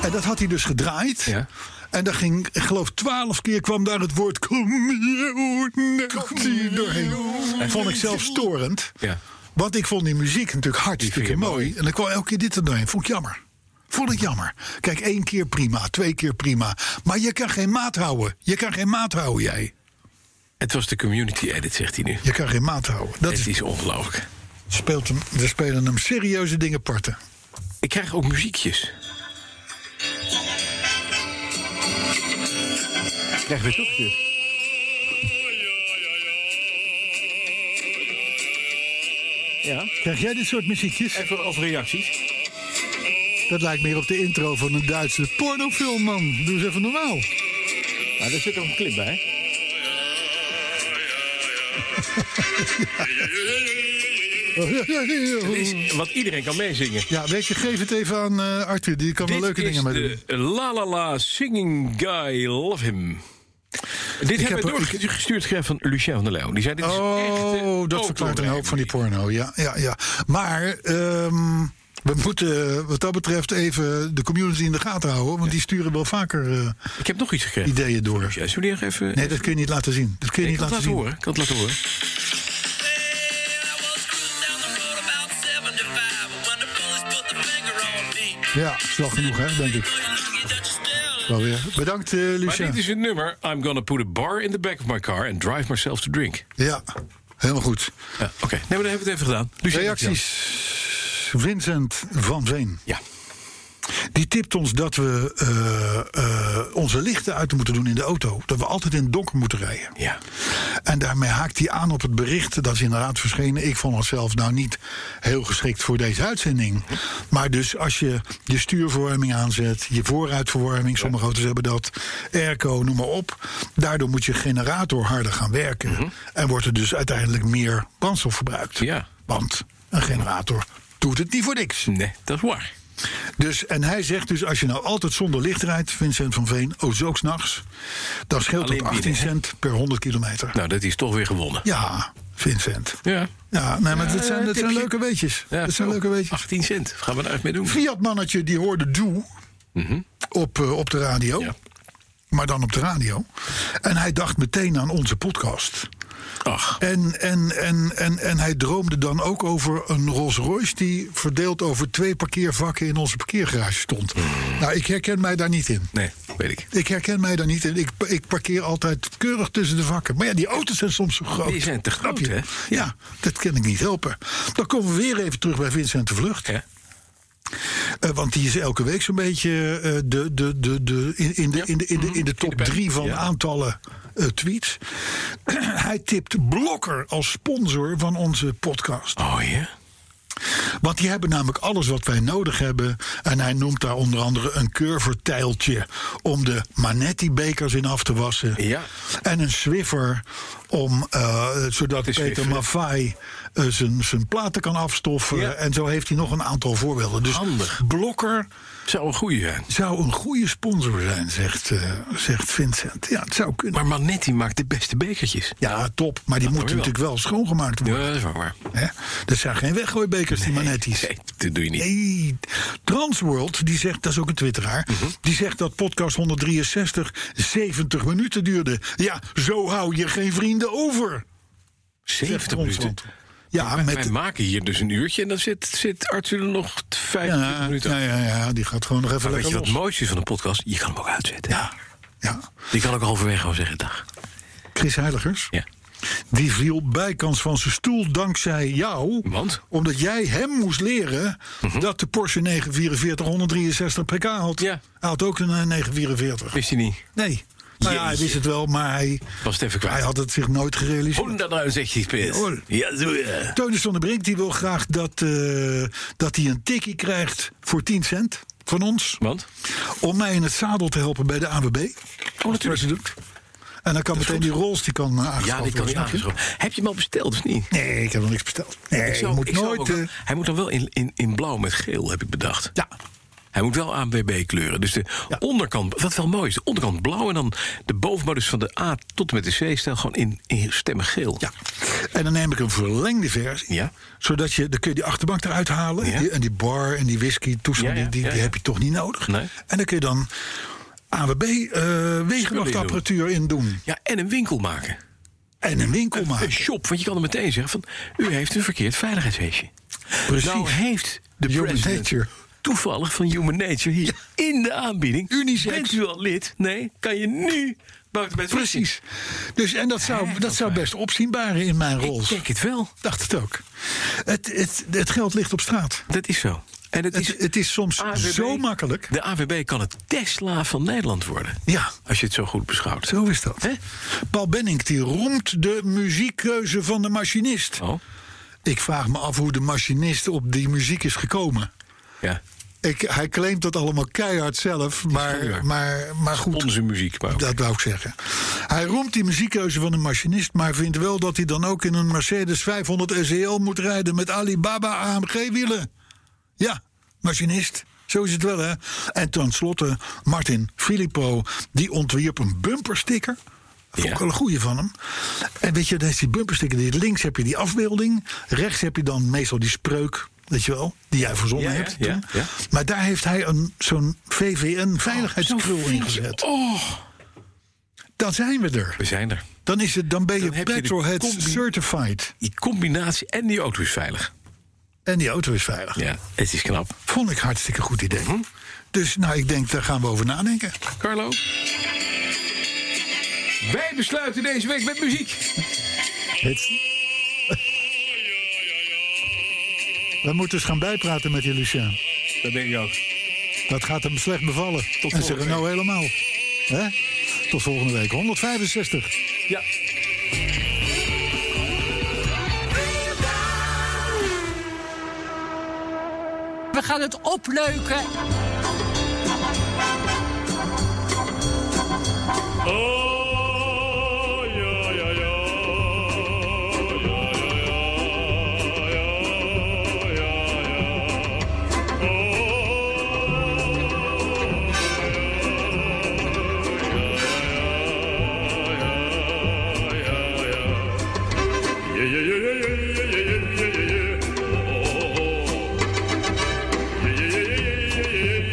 En dat had hij dus gedraaid. Ja. En daar ging, ik geloof, twaalf keer kwam daar het woord community doorheen. Vond ik zelf storend. Ja. Want ik vond die muziek natuurlijk hartstikke vind je mooi. mooi. En dan kwam elke keer dit er doorheen. Vond ik jammer. Vond ik jammer. Kijk, één keer prima, twee keer prima. Maar je kan geen maat houden. Je kan geen maat houden, jij. Het was de community edit, zegt hij nu. Je kan geen maat houden. Dat Het is, is ongelooflijk. speelt hem, er spelen hem serieuze dingen parten. Ik krijg ook muziekjes. Ik krijg weer toegestuurd. Ja, Krijg jij dit soort muziekjes? even over reacties. Dat lijkt meer op de intro van een Duitse pornofilm, man. Doe eens even normaal. Nou, daar zit ook een clip bij. Het is wat iedereen kan meezingen. Ja, weet je, geef het even aan eh, Arthur. Die kan er Dit leuke is dingen mee doen. de La La La Singing Guy Love Him. Dit heb hebben we er- ik- doorgestuurd gekregen van Lucien van der Leeuw. Die zei, dit is echt, eh, Oh, dat verklaart een hoop van die porno. Ja, ja, ja. Maar ehm, we moeten wat dat betreft even de community in de gaten houden. Want die sturen wel vaker eh, Ik heb nog iets gekregen. ideeën door. Ja, zullen we die nog even... Nee, dat kun je niet laten zien. Dat kun je ik niet kan het laten laten zien. horen. Ik kan het laten horen. Ja, is wel genoeg, hè, denk ik. Wel weer. Bedankt, eh, Maar Lucien. dit is het nummer. I'm gonna put a bar in the back of my car and drive myself to drink. Ja, helemaal goed. Ja, Oké, nee, maar dan hebben we het even gedaan. Lucien, Reacties. Vincent van Veen. Ja. Die tipt ons dat we eh, eh, onze lichten uit moeten doen in de auto. Dat we altijd in het donker moeten rijden. Ja. En daarmee haakt hij aan op het bericht dat is inderdaad verschenen. Ik vond het zelf nou niet heel geschikt voor deze uitzending. Maar dus als je je stuurverwarming aanzet, je vooruitverwarming, sommige auto's hebben dat, airco, noem maar op. Daardoor moet je generator harder gaan werken. En wordt er dus uiteindelijk meer brandstof verbruikt. Mhm. Ja. Want een generator doet het niet voor niks. Nee, dat is waar. Dus, en hij zegt dus, als je nou altijd zonder licht rijdt, Vincent van Veen, oh zo s'nachts, dan scheelt dat Alleen 18 binnen, hè? cent per 100 kilometer. Nou, dat is toch weer gewonnen. Ja, Vincent. Ja. Ja, nee, maar dat eh, zijn, dat zijn tipje. leuke weetjes. Ja, dat zijn zo. leuke weetjes. 18 cent. Wat gaan we daar echt mee doen? Fiat-mannetje, die hoorde Doe op, eh, op de radio. Mhm. Ja. Maar dan op de radio. En hij dacht meteen aan onze podcast. Ach, En, en, en, en, en hij droomde dan ook over een Rolls Royce... die verdeeld over twee parkeervakken in onze parkeergarage stond. Mhm. Nou, ik herken mij daar niet in. nee, weet ik. Ik herken mij daar niet in. Ik, ik parkeer altijd keurig tussen de vakken. Maar ja, die auto's zijn soms zo groot. Die zijn te Snap groot, je? hè? Ja. dat kan ik niet helpen. Dan komen we weer even terug bij Vincent de Vlucht. Ja. Eh, want die is elke week zo'n beetje eh, de, de, de, de, in, in de, in, de, in, de, in de top bij. drie van Ja. aantallen eh, tweets. Hij tipt Blokker als sponsor van onze podcast. Oh ja? Want die hebben namelijk alles wat wij nodig hebben. En hij noemt daar onder andere een curvertijltje om de Manetti-bekers in af te wassen. Ja. En een swiffer om, eh, zodat Te Peter swifferen. Maffay eh, zijn zijn platen kan afstoffen. Ja. En zo heeft hij nog een aantal voorbeelden. Dus Handig. Blokker Zou een goeie zijn. zou een goede sponsor zijn, zegt, eh, zegt Vincent. Ja, het zou kunnen. Maar Manetti maakt de beste bekertjes. ja, top. Maar die hoor je wel. moeten natuurlijk wel schoongemaakt Ja, worden. dat is wel waar. Hè? Dat zijn geen weggooibekers, die Manetti's. Nee, dat doe je niet. Nee, Transworld, die zegt, dat is ook een twitteraar... Mhm. die zegt dat podcast 163 70 minuten duurde. Ja, zo hou je geen vrienden over, 70 minuten. Transworld. Ja, Wij met... maken hier dus een uurtje en dan zit, zit Arthur er nog 25 Ja, minuten. ja, ja, ja, die gaat gewoon nog even Maar weet lekker je wat los. het mooiste is van een podcast? Je kan hem ook uitzetten. Ja, ja. Die kan ook halverwege gewoon zeggen dag. Chris Heiligers, Ja. die viel bijkans van zijn stoel dankzij jou... Want? Mhm. omdat jij hem moest leren dat de Porsche 944 163 pk had. Ja. Hij had ook een eh, 944. Wist hij niet. Nee. Nou ja, hij Jeetje. wist het wel, maar hij, Was het even hij kwijt. had het zich nooit gerealiseerd. 160 Ja, PS. hoor. Ja, doe je. Teunis van der Brink die wil graag dat, eh, dat hij een tikkie krijgt voor 10 cent van ons. Want? Om mij in het zadel te helpen bij de AWB. Oh, natuurlijk. En dan kan meteen die rolls die kan eh, aangeschaft Ja, die worden, kan niet snap je? aangeschoven. Heb je hem al besteld of niet? Nee, ik heb nog niks besteld. Nee, Ik zou- je moet ik zou nooit... ook wel- eh, hij moet dan wel in, in, in blauw met geel, heb ik bedacht. ja, Hij moet wel ABB kleuren. Dus de Ja. onderkant, wat wel mooi is, de onderkant blauw... en dan de bovenbouw dus van de A tot en met de C... stel gewoon in, in stemmen geel. ja. En dan neem ik een verlengde versie. Ja. Zodat je, dan kun je die achterbank eruit halen. Ja. Die- en die bar en die whisky, toestand, Ja, ja, die, die, ja, die ja. heb je toch niet nodig. Nee. En dan kun je dan AWB eh wegenwachtapparatuur in doen. Ja, en een winkel maken. En een winkel Een maken. shop, want je kan er meteen zeggen van... u heeft een verkeerd veiligheidshesje. Precies. Nou heeft de Human president Nature. toevallig van Human Nature hier in de aanbieding... Unisex. Bent u al lid? Nee, kan je nu buiten bij het Precies. Dus, en dat zou, dat zou best opzienbaren in mijn Ik rol. denk het wel. Dacht het ook. Het, het, het geld ligt op straat. Dat is zo. En het is, Het, het is soms AWB zo makkelijk. De AWB kan het Tesla van Nederland worden. Ja. Als je het zo goed beschouwt. Zo is dat. Hè? Paul Benning die roemt de muziekkeuze van de machinist. Oh, Ik vraag me af hoe de machinist op die muziek is gekomen. ja. Ik, hij claimt dat allemaal keihard zelf, maar, waar. maar, maar goed. Onze muziek, maar ook. Dat wou ik zeggen. Hij roemt die muziekkeuze van de machinist, maar vindt wel dat hij dan ook in een Mercedes 500 SEL moet rijden met Alibaba AMG-wielen. Ja, machinist. Zo is het wel, hè? En tenslotte Martin Filippo, die ontwierp een bumpersticker. Dat vond ik Ja. wel een goeie van hem. En weet je, dat is die bumpersticker. die- Links heb je die afbeelding. Rechts heb je dan meestal die spreuk, weet je wel, die jij verzonnen Ja, ja, hebt ja, toen. ja. Maar daar heeft hij een- zo'n VVN-veiligheidskrul in gezet. Oh, Dan zijn we er. we zijn er. Dan, is het, dan ben je Dan heb je de petrolhead combi- certified. Die combinatie en die auto is veilig. En die auto is veilig. Ja, Mhm. het is knap. Vond ik hartstikke goed idee. Dus nou, ik denk, daar gaan we over nadenken. Carlo? Wij besluiten deze week met muziek. We moeten eens gaan bijpraten met die Lucien. Dat denk ik ook. Dat gaat hem slecht bevallen. en volgende ze Renault helemaal. Hè? Tot volgende week. 165. Ja. We gaan het opleuken. Yeah, yeah, yeah, yeah, yeah, yeah.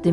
De